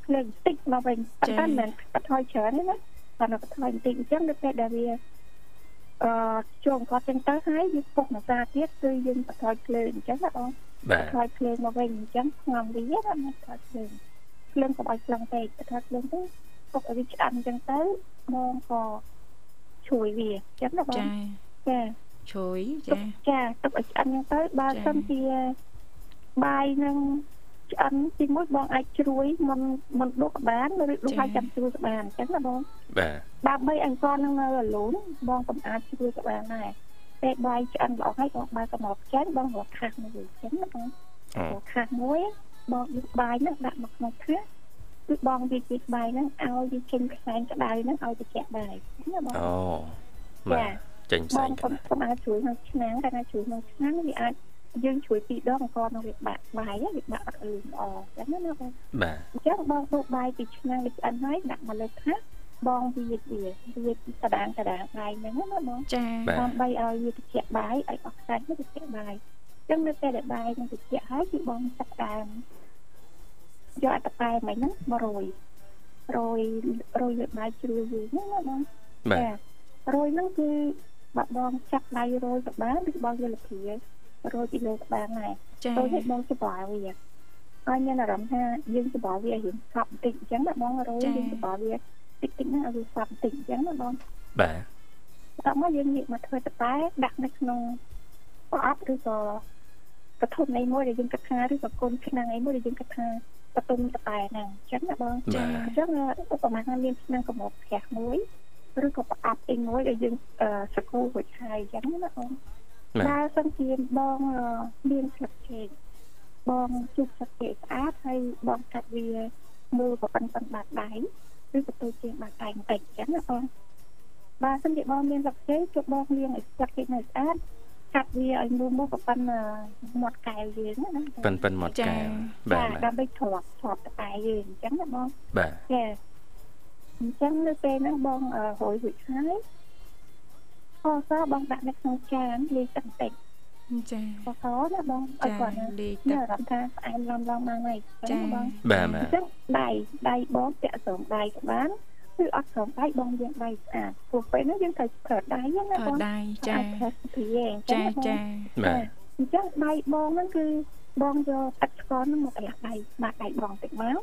Speaker 6: ភ្លើងបន្តិចមកវិញប៉ុន្តែមិនមែនបន្ថយច្រើនទេណាគាត់នៅបន្ថយបន្តិចអញ្ចឹងដូចពេលដែលវាអឺជួងគាត់ចឹងទៅហើយវាពុកមកសាទៀតគឺយើងបន្ថយភ្លើងអញ្ចឹងណាបង
Speaker 2: បាទ
Speaker 6: បន្ថយភ្លើងមកវិញអញ្ចឹងស្ងំវាណាបន្ថយភ្លើងភ្លើងកុំឲ្យខ្លាំងពេកបន្ថយភ្លើងទៅពុកឲ្យវាឆ្អិនអញ្ចឹងទៅបងក៏ ជួយវាអញ្ចឹងណាបង
Speaker 1: ចា
Speaker 6: ចា
Speaker 1: ជួយ
Speaker 6: ទុក
Speaker 1: ចា
Speaker 6: ចាទុកឲ្យឆ្អិនហ្នឹងទៅបើ
Speaker 1: ចា
Speaker 6: សិនជាបាយនឹងឆ្អិនទីមួយបងអាចជ្រួយមុនមុនដួសក៏បានឬដួសហើយចាំជ្រួយក៏បានអញ្ចឹងណាបង
Speaker 2: បាទ
Speaker 6: បើបីអង្គរនឹងនៅរលូនបងក៏អាចជ្រួយក៏បានដែរពេលបាយឆ្អិនល្អហើយបងបើកមកចាញ់បងរកខាស់មួយអញ្ចឹងណាបង
Speaker 2: អូ
Speaker 6: រកខាស់មួយបងយកបាយហ្នឹងដាក់មកក្នុងធ្នះគឺបងវាជីកបាយហ្នឹងឲ្យវាចេញខ្សែក្តៅហ្នឹងឲ្យត្រជាក់ដែរណាបង
Speaker 2: អូបាទចេញ
Speaker 6: ប
Speaker 2: ផ្សេ
Speaker 6: ង
Speaker 2: ង
Speaker 6: កុំ
Speaker 2: គ្នា
Speaker 6: កុំអាចជួយក្នុងឆ្នាំងតែណាជួយក្នុងឆ្នាំងវាអាចយើងជួយពីរដងក៏នឹងវាបាក់បាយហ្នឹងវាបាក់អត់លឿនល្អចឹងណាណាបង
Speaker 2: បាទ
Speaker 6: អញ្ចឹងបងទុកបាយពីឆ្នាំងវាឆ្អិនហើយដាក់មកលើថាសបងវាវាវាកដាងកដាងបាយហ្នឹងណាបង
Speaker 1: ចា
Speaker 2: បាទ
Speaker 6: ដើម្បីឲ្យវាត្រជាក់បាយឲ្យអស់ខ្សាច់ហ្នឹងត្រជាក់បាយអញ្ចឹងនៅពេលដែលបាយនឹងត្រជាក់ហើយគឺបងចាប់ផ្ដើមយកអត្តប៉ែមិញហ្នឹងមករយរយរយលើបាយជ្រួយយើងហ្នឹងណាបង
Speaker 2: បាទ
Speaker 6: រយហ្នឹងគឺ បាក់បងចាប់ដៃរយក៏បានឬបងយកលធារយពីលើក៏បានដែរ
Speaker 1: ចា
Speaker 6: ចូលឲ្យបងច្បាយវាហើយមានអារម្មណ៍ថាយើងច្បាយវារៀងស្បបន្តិចអញ្ចឹងណាបងរយយើងច្បាយវាតិចតិចណាឲ្យវាស្បបន្តិចអញ្ចឹងណាបង
Speaker 2: បាទ
Speaker 6: ដល់មកយើងងាកមកធ្វើតតែដាក់នៅក្នុងប្រអប់ឬក៏កធំនៃមួយដែលយើងគិតថាឬក៏គុណឆ្នាំងអីមួយដែលយើងគិតថាបតុមតតែហ្នឹងអញ្ចឹងណាបង
Speaker 2: បា
Speaker 6: អ
Speaker 2: ទ
Speaker 6: ញ្ចឹងឧបមាថាមានឆ្នាំងកំមុកផ្ទះមួយឬក៏ប្រអប់អីមួយដែលយើងអឺសកូរួចហើយអញ្ចឹងណាអូន
Speaker 2: បាទ
Speaker 6: បើសិនជាបងអឺមានស្លឹកចេកបងជូបស្លឹកចេកស្អាតហើយបងកាត់វាមើលប្រប៉ិនប៉ិនបាតដៃឬក៏ទៅជាងបាតដៃបន្តិចអញ្ចឹងណាអូនបើសិនជាបងមានស្លឹកចេកជូបបងលាងឲ្យស្លឹកចេកនៅស្អាតកាត់វាឲ្យមើលមកប្រប៉ិនអឺមាត់កែវយើងណាណាអូ
Speaker 2: ប៉ិនប៉ិនមកកែវបាទបាទ
Speaker 6: ដើម្បីធ្លាប់ធ្លាប់តតែយើងអញ្ចឹងណាបង
Speaker 2: បាទ
Speaker 6: ចាអញ្ចឹងនៅពេលហ្នឹងបងអឺរយរួចហើយខសបងដាក់នៅក្នុងចានលាយទឹកបន្តិច
Speaker 1: ចា
Speaker 6: ខសណាបងឲ្យគាត់ណា
Speaker 1: លេខ
Speaker 6: នៅ
Speaker 1: ទឹក
Speaker 6: អារម្មណ៍ថាស្អាតឡំឡំមកហើយអញ្ចឹងណាបង
Speaker 2: បាទបាទ
Speaker 6: អញ្ចឹងដៃដៃបងពាក់ស្រោមដៃក៏បានឬអត់ស្រោមដៃបងយើងដៃស្អាតព្រោះពេលហ្នឹងយើងត្រូវប្រើដៃហ្នឹងណា
Speaker 1: ប្រើ
Speaker 6: បង
Speaker 1: ដៃចា
Speaker 6: អាចប្រើស្ពាយអញ្ចឹ
Speaker 1: ចា
Speaker 6: ងណាបង
Speaker 1: ចា
Speaker 2: បាទ
Speaker 6: អញ្ចឹងដៃបងហ្នឹងគឺបងយកទឹកស្ករហ្នឹងមកប្រឡាក់ដៃបាក់ដៃបងតិចមក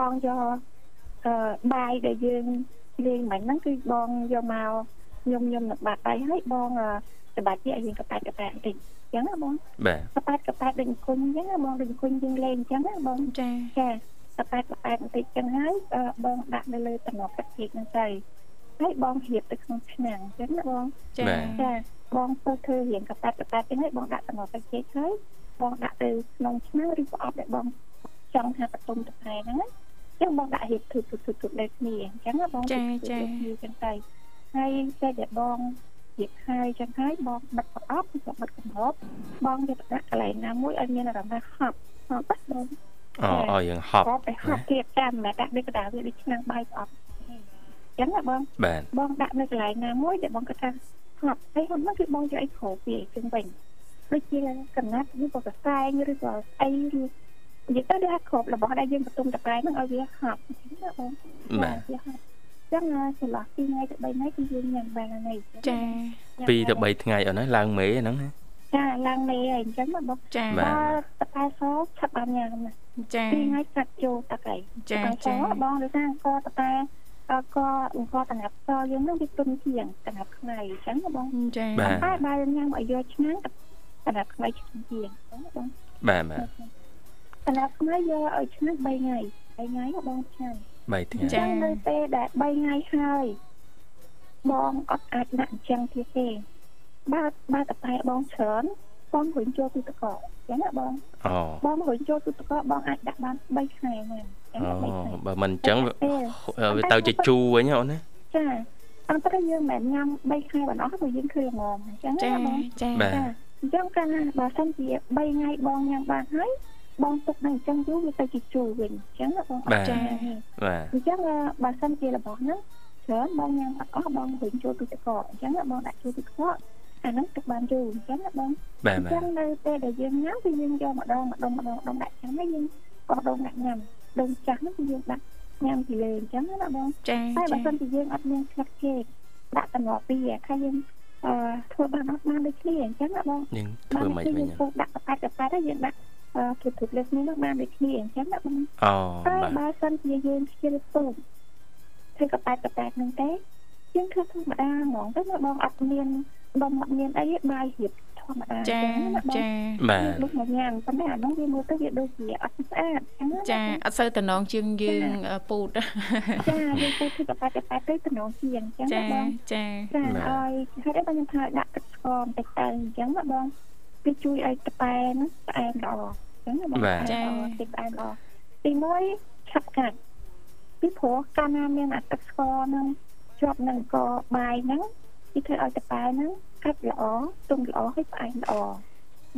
Speaker 6: បងយក អឺបាយដែលយើងលេងមិញហ្នឹងគឺបងយកមកញុំញុំនឹងបាត់ដៃហើយបងអឺច្បាច់វាឲ្យយើងកប៉ែតកប៉ែតបន្តិចអញ្ចឹងណាបង
Speaker 2: បាទ
Speaker 6: កប៉ែតកប៉ែតដូចអង្គុញអញ្ចឹងណាបងដូចអង្គុញយើងលេងអញ្ចឹងណាបង
Speaker 1: ចា
Speaker 6: ចាកប៉ែតកប៉ែតបន្តិចអញ្ចឹងហើយអឺបងដាក់នៅលើតំណប់ទឹកជីកហ្នឹងទៅហើយបងហៀបទៅក្នុងឆ្នាំងអញ្ចឹងណាបង
Speaker 1: ចា
Speaker 6: ចាបងធ្វើធ្វើរៀងកប៉ែតកប៉ែតអញ្ចឹងហើយបងដាក់តំណប់ទឹកជីកហើយបងដាក់ទៅក្នុងឆ្នាំងឬប្រអប់ដែលបងចង់ថាបន្ទុំទឹកតែហ្នឹងណា ចឹងបងដាក់រៀបធូបធូបធូបធូបដូចគ្នាអញ្ចឹងណាបងដូចគ្នាចឹងទៅហើយចេះតែបងរៀបហើយចឹងហើយបងបិទប្រអប់ឬបិទកំហប់បងយកទៅដាក់កន្លែងណាមួយឲ្យមានអារម្មណ៍ថាហប់ហប់បាត់បង
Speaker 2: អូឲ្យយើងហប់
Speaker 6: ហប់ទៅហប់ទៀតតាមតែដាក់ដូចកណ្ដាលវាដូចឆ្នាំងបាយប្រអប់អញ្ចឹងណាបង
Speaker 2: បាទ
Speaker 6: បងដាក់នៅកន្លែងណាមួយដែលបងគិតថាហប់ហើយហប់ហ្នឹងគឺបងយកអីក្រោពីអីចឹងវិញដូចជាកណាត់ឬក៏កសែងឬក៏អីនិយាយទៅដូចថាក្របរបស់ដែលយើងបន្ទុំតកែងហ្នឹងឲ្យវាហប់អញ្ចឹងណាបង
Speaker 2: បាទ
Speaker 6: អញ្ចឹងចន្លោះពីថ្ងៃទៅ3ថ្ងៃគឺយើងញ៉ាំបានហើយ
Speaker 1: ចា
Speaker 2: 2ទៅ3ថ្ងៃអូនហើយឡើងមេហ្នឹងណា
Speaker 6: ចាឡើងមេហើយអញ្ចឹងបង
Speaker 1: ចា
Speaker 2: បាទ
Speaker 6: តកែសឆាប់បានញ៉ាំណា
Speaker 1: ចា
Speaker 6: ពីរថ្ងៃកាត់ចូលតកែ
Speaker 1: ចា
Speaker 6: តកែស
Speaker 1: ចា
Speaker 6: បងដូចថាអង្គតកែអកអង្គតណាប់សយើងនឹងវាទុំជាងកណាប់ខ្មៅអញ្ចឹងបង
Speaker 1: ចា
Speaker 2: បាទ
Speaker 6: តែបើញ៉ាំឲ្យយកឆ្នាំងកណាប់ខ្មៅជាងជាងអញ្ចឹង
Speaker 2: បាទបា
Speaker 6: កណាប់ខ្មៅយកឲ្យឆ្នាំ3ថ្ងៃ3ថ្ងៃបងឆ្នាំ
Speaker 2: ទ3ថ្ងៃ
Speaker 6: ចឹងនៅពេលដែល3ថ្ងៃហើយបងអត់អាចដាក់អញ្ចឹងទៀតទេបើបើតតែបងច្រើនបងរុញចូលទូទឹកកកចឹងណាបង
Speaker 2: អូ
Speaker 6: បងរុញចូលទូទឹកកកបងអាចដាក់បាន3ខែហ្នឹងចឹង
Speaker 2: អូ
Speaker 6: ណា3ខែ
Speaker 2: បើមិនអញ្ចឹងវា
Speaker 6: ទេ
Speaker 2: វាទៅជាជូរវិញអូនណា
Speaker 6: ចាអន្តរយើងមិនមែនញ៉ាំ3ខែបណ្ដោះព្រោះយើងឃើញល្ងមអញ្ចឹង
Speaker 1: ចា
Speaker 6: ណាបង
Speaker 1: ចា
Speaker 2: បាទ
Speaker 6: អញ្ចឹងកាលណាបើសិនជា3ថ្ងៃបងញ៉ាំបានហើយបងទុកនៅអញ្ចឹងយូរវាទៅជាជូរវិញអញ្ចឹងណាបងអត់
Speaker 2: បាទ
Speaker 6: ចាទេ
Speaker 2: បាទ
Speaker 6: អញ្ចឹងអឺបើសិនជារបស់ហ្នឹងច្រើនបងញ៉ាំអត់អស់បងវិញចូលទូទឹកកកអញ្ចឹងណាបងដាក់ចូលទូទឹកកកអាហ្នឹងទឹកបានយូរអញ្ចឹងណាបង
Speaker 2: បាទ
Speaker 6: អ
Speaker 2: បា
Speaker 6: ញ្ចឹ
Speaker 2: ទ
Speaker 6: ងនៅពេលដែលយើងញ៉ាំគឺយើងយកម្ដងម្ដងម្ដងម្ដងដាក់ចាំហើយយើងក៏ដងដាក់ញ៉ាំដងចាស់ហ្នឹងគឺយើងដាក់ញ៉ាំពីលើអញ្ចឹងណាបង
Speaker 1: ចា
Speaker 6: តែបើ
Speaker 1: ចា
Speaker 6: សិនជាយើងអត់មានស្លឹកចេកដាក់តំណពីខែយើងអឺធ្វើបានអត់បានដូចគ្នាអញ្ចឹងណាបង
Speaker 2: យើងធ្វើមិនវិញ
Speaker 6: យើងដាក់កប៉ាត់កប៉ាត់ហើយយើងដាក់អឺធូបធូបលើគ្នានោះបានដូចគ្នាអញ្ចឹងណាបង
Speaker 2: អូ
Speaker 6: តែ
Speaker 2: បាទ
Speaker 6: បើសិនជាយើងខ្ជិលពុកធ្វើកប៉ែតកប៉ែតហ្នឹងទេយើងធ្វើធម្មតាហ្មងទៅមកបងអត់មានបងអត់មានអីទេបាយរៀបធម្មតា
Speaker 1: ចាចា
Speaker 2: បាទ
Speaker 6: ដូចមកញ៉ាំប៉ុន្តែអាហ្នឹងវាមើលទៅវាដូចជាអត់ស្អាតអញ្ចឹង
Speaker 1: ចាអត់សូវតំណងជើងយើងអឺពូត
Speaker 6: ចាយើងទៅធ្វើកប៉ែតកប៉ែតទៅតំណងជាងអញ្ចឹ
Speaker 1: ចា
Speaker 6: ងបង
Speaker 1: ចា
Speaker 6: ចាឲ្យហេតុអីបងខ្ញុំថាដាក់ទឹកស្ករបន្តិចទៅអញ្ចឹងណាបងវាជួយឲ្យតប៉ែហ្នឹងផ្អែមល្អអញ្ចឹងណាបងទីផ្អែមល្អទី1ឆាប់កាត់ ពីព្រោះកាលណាមានអាទឹកស្ករហ្នឹងជាប់នឹងកបាយហ្នឹងគេធ្វើឲ្យតប៉ែហ្នឹងកាត់ល្អទុំល្អហើយផ្អែមល្អ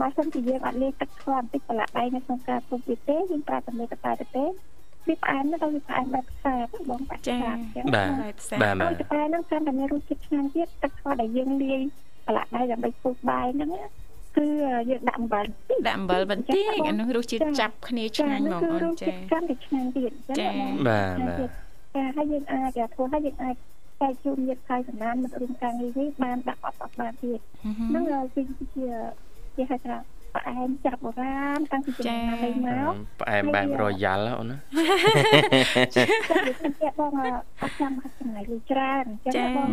Speaker 6: បើសិនជាយើងអត់លាយទឹកស្ករបន្តិចប្រឡាក់ដៃនៅក្នុងការពុំទៀតទេយើងប្រើតែមេតប៉ែទៅទេវាផ្អែមទៅវាផ្អែមបែបផ្សាទៅបងបែបផ្សាអញ្ចឹង
Speaker 2: បាទ
Speaker 1: បែបផ្សេង
Speaker 2: បាទបាទ
Speaker 6: តប៉ែហ្នឹងកាន់តែមានរសជាតិឆ្ងាញ់ទៀតទឹកស្ករដែលយើងលាយប្រឡាក់ដៃដើម្បីពុះបាយហ្នឹងណាគឺយើងដាក់អំបិលបន្តិច
Speaker 1: ដាក់អំបិលបន្តិចអានោះរសជាតិ
Speaker 6: ចា
Speaker 1: ចាប់គ្នាឆ្ងាញ់ហ្មងអូន
Speaker 6: ចា
Speaker 1: ចា
Speaker 6: ហ្នឹងគឺរសជាតិកាន់តែឆ្ងាញ់ទៀតអញ្ចឹងណាបង
Speaker 2: បាទបាទ
Speaker 6: ចាហើយយើងអាចធ្វើឲ្យយើងអាច តែជួបញាតិខាយសំណានមិត្តរួមការងារនេះបានដាក់អត់អត់បានទៀតហ្នឹងគឺជាជាហៅថាផ្អែមចាប់បុរាណតាំងពីចំណាយមក
Speaker 2: ផ្អែមបែបរយ៉ាល់អូនណា
Speaker 6: ចា៎ខ្ញុំជាបងអត់ចាំបាច់ចំណាយលុយច្រើនចឹងបងស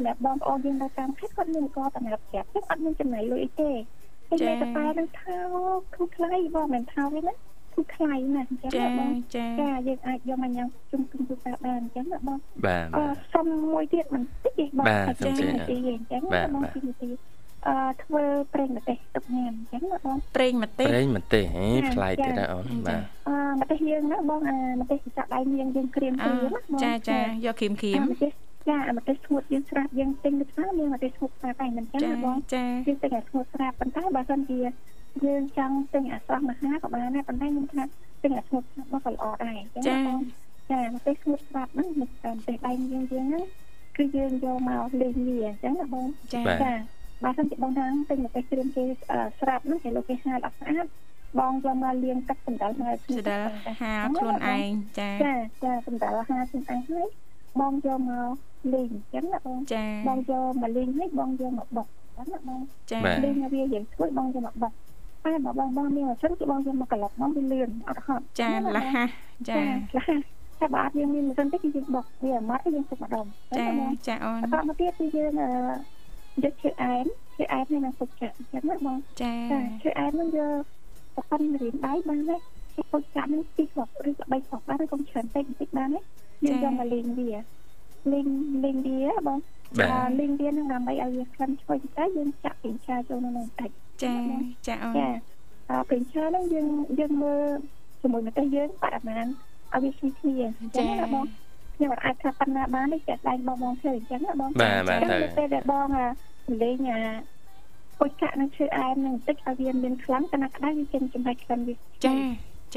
Speaker 6: ម្រាប់បងប្អូនយើងនៅតាមខេត្តគាត់មានក៏សម្រាប់ប្រាប់ខ្ញុំអត់មានចំណាយលុយអីទេតែតែតែនឹងថោគូខ្លៃបងមិនថោទេណាគូខ្លៃណាអញ្ចឹ
Speaker 1: ចា
Speaker 6: ងបង
Speaker 1: ចា
Speaker 6: ចាយើងអាចយកមកញ៉ាំជុំគំរូសាបានអញ្ចឹងណាបង
Speaker 2: បាទ
Speaker 6: អឺ
Speaker 2: បាទ
Speaker 6: សុំមួយទៀតបន្តិចទេបងអញ្ចឹងបងពីនាទីអឺធ្វើប្រេងម្ទេសទឹកញ៉ាំអញ្ចឹងណាបង
Speaker 1: ប្រេងម្ទេស
Speaker 2: ប្រេងម្ទេសហេ
Speaker 6: ចា៎
Speaker 2: ប្លែកទៀត
Speaker 6: ចា៎
Speaker 2: ណាអូន
Speaker 1: ចា៎
Speaker 2: បាទ
Speaker 6: អឺម្ទេសយើងណាបងអាម្ទេសចាក់ដៃនាងយើងក្រៀម
Speaker 1: អឺ
Speaker 6: គ្រៀមណាបង
Speaker 1: ចាចាយកគ្រីមគ្រីម
Speaker 6: អាម្ទេសចាអាម្ទេសស្ងួតយើងស្រាប់យើងទិញទៅផ្សារមានអាម្ទេសស្ងួតស្រាប់តែមិនចឹង
Speaker 1: ចា
Speaker 6: ណាបង
Speaker 1: ចា
Speaker 6: យើងទិញអាស្ងួតស្រាប់ប៉ុន្តែបើសិនជាយើងចង់ទិញអាស្រស់មកហាក៏បានដែរប៉ុន្តែខ្ញុំថាទិញអាស្ងួតស្រាប់មកក៏ល្អដែរអញ្ចឹ
Speaker 1: ចា
Speaker 6: ងណាបងចាអាម្ទេសស្ងួតស្រាប់ហ្នឹងមិនតាមអាម្ទេសដៃយើងយើងហ្នឹងគឺយើងយកមកលេងវាអញ្ចឹងណាបង
Speaker 1: ចា
Speaker 6: ចាបើសិនជាបងថាទិញអាម្ទេសគ្រឿងគេអឺស្រាប់ហ្នឹងគេលោកគេហាលអត់ស្អាតបងយកមកលាងទឹកសម្ដៅមកស្ងួត
Speaker 1: ស្ដិល
Speaker 6: ស្រាប់
Speaker 1: ហា
Speaker 6: ដែរ
Speaker 1: ខ្លួន
Speaker 6: ណាប
Speaker 1: ឯង
Speaker 6: ង
Speaker 1: ចា
Speaker 6: ចាចាសម្រាប់អាហារខ្លួនឯងហើយបងយកមកលេងអញ្ចឹងណាបង
Speaker 1: ចា
Speaker 6: បងយកមកលេងហើយបងយកមកបុកអញ្ចឹងណាបង
Speaker 1: ចា
Speaker 6: លេងនៅវាយើងស្គួយបងយកមកបុកតែបើបងបងមានអសិនគឺបងយកមកក្លុកមកវាលឿនអត់ហត់
Speaker 1: ចា
Speaker 6: អញ្ចឹងណាបង
Speaker 1: លះហាស់ចា
Speaker 6: ចាលះតែបើអត់យើងមានអសិនទេគឺយើងបុកវាអាម៉ត់ហើយយើងទុកម្ដងអ
Speaker 1: ចា
Speaker 6: ញ្ចឹងណាបង
Speaker 1: ចាអូន
Speaker 6: បន្តមកទៀតគឺយើងអឺយកឈើអែមឈើអែមហើយនឹងពុកចាក់អញ្ចឹងណាបង
Speaker 1: ចា
Speaker 6: ចាឈើអែមហ្នឹងយកប្រព័ន្ធរៀនដៃបានទេគេពុកចាក់ហ្នឹងពីរគ្រាប់ឬក៏បីគ្រាប់បានឬក៏ច្រើនពេកបន្តិចបានទេយើងយកមកលេងវាលេងលេងវាបង
Speaker 2: បាទ
Speaker 6: អ่าលេងវាហ្នឹងដើម្បីឲ្យវាខ្លាំងឈ្ងុយបន្តិចតែយើងចាក់ពីឆាចូលក្នុងហ្នឹងបន្តិច
Speaker 1: ចាចាអូន
Speaker 6: ចាអ่าពីឆាហ្នឹងយើងយើងមើលជាមួយម្ទេសយើងបរិមាណឲ្យវាឈ្ងុយគ្នាអញ្ចឹងណាបងខ្ញុំអត់អាចថាប៉ុណ្ណាបានទេចាក់ដៃបងបងធ្វើអញ្ចឹងណាបង
Speaker 2: បាទបាទទៅ
Speaker 6: តែពេលដែលបងអាលេងអាពុជកាក់នឹងឈើអែមនឹងបន្តិចឲ្យវាមានខ្លាំងតែណាក្តៅវាចេញចំហិចខ្លាំងវា
Speaker 1: ចាចា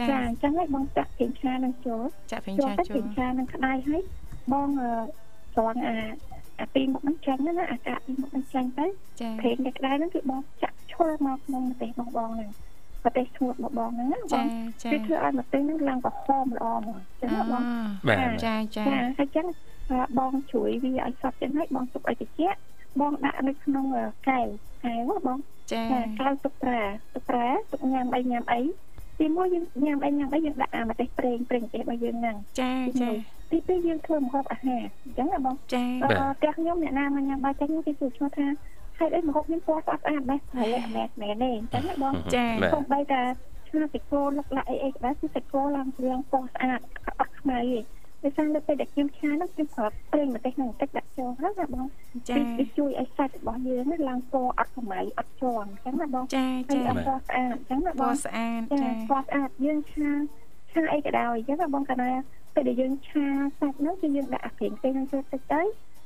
Speaker 6: ចាអញ្ចឹងហើយបងចាក់ពីឆានឹងចូល
Speaker 1: ចាក់វិញ
Speaker 6: ចូល
Speaker 1: ចា
Speaker 6: ទៅ
Speaker 1: ជូ
Speaker 6: ពីឆានឹងក្តៅហើយបងអឺស្រង់អាអាពីរមុខហ្នឹងចាញ់ណាអាកាក់ពីរមុខហ្នឹងចាញ់ទៅ
Speaker 1: ចា
Speaker 6: ព្រេងតែក្តៅហ្នឹងគឺបងចាក់ឈុលមកក្នុងប្រទេសបងបងហ្នឹងប្រទេសស្ងួតបងបងហ្នឹងណាប
Speaker 1: ចា
Speaker 6: ង
Speaker 1: ចា
Speaker 6: គឺធ្វើឲ្យប្រទេសហ្នឹងឡើងក្រហមល្អមកចឹងណាបង
Speaker 2: បាទបាទ
Speaker 6: ចា
Speaker 1: ចាចា
Speaker 6: ចាហើយចឹងអ่าបងជួយវាឲ្យសពចឹងហើយបងទុកឲ្យត្រជាក់បងដាក់នៅក្នុងអ่ากែវកែវហ៎បង
Speaker 1: ចា
Speaker 6: ចាកែវទុកប្រាទុកប្រាទុកញ៉ាំអីញ៉ាំអីទីមួយយើងញ៉ាំអីញ៉ាំអីយើងដាក់អាម្ទេសប្រេងប្រេងអីរបស់យើងហ្នឹង
Speaker 1: ចាចា
Speaker 6: ទីពីរយើងធ្វើម្ហូបអាហារអញ្ចឹងណាបង
Speaker 1: ចា
Speaker 6: អឺផ្ទះខ្ញុំអ្នកណាមកញ៉ាំបាយចឹងខ្ញុំគេសួរឈ្មោះថាហេតុអីម្ហូបនេះពណ៌ស្អាតស្អាត បែបហើយអត់មែនមែនទេអញ្ចឹងណាបង
Speaker 2: ចាបាទ
Speaker 6: សូម្បីតែឈ្មោះតិកោលុកឡាក់អីអីក៏ដោយគឺតិកោឡើងព្រឿងពណ៌ស្អាតអត់ខ្មៅទេដោយសារនៅពេលដែលខ្ញុំឆានោះខ្ញុំប្រើប្រេងម្ទេសនឹងបន្តិចដាក់ចូលហ្នឹងណាបង
Speaker 1: ចា
Speaker 6: វាជួយឲ្យសាច់របស់យើងហ្នឹងឡើងពណ៌អត់កម្រៃអត់ជាប់អញ្ចឹងណាបង
Speaker 1: ចា
Speaker 6: ហើយ
Speaker 1: ចា
Speaker 6: អត់ពណ៌ស្អាតអញ្ចឹងណា
Speaker 1: ព
Speaker 6: បង
Speaker 1: ណ៌ស្អាតចា
Speaker 6: ចាពណ៌ស្អាតយើងឆាឆាអីក៏ដោយអញ្ចឹងណាបងកណាពេលដែលយើងឆាសាច់ហ្នឹងគឺយើងដាក់អាប្រេងផ្សេងហ្នឹងចូលតិចទៅ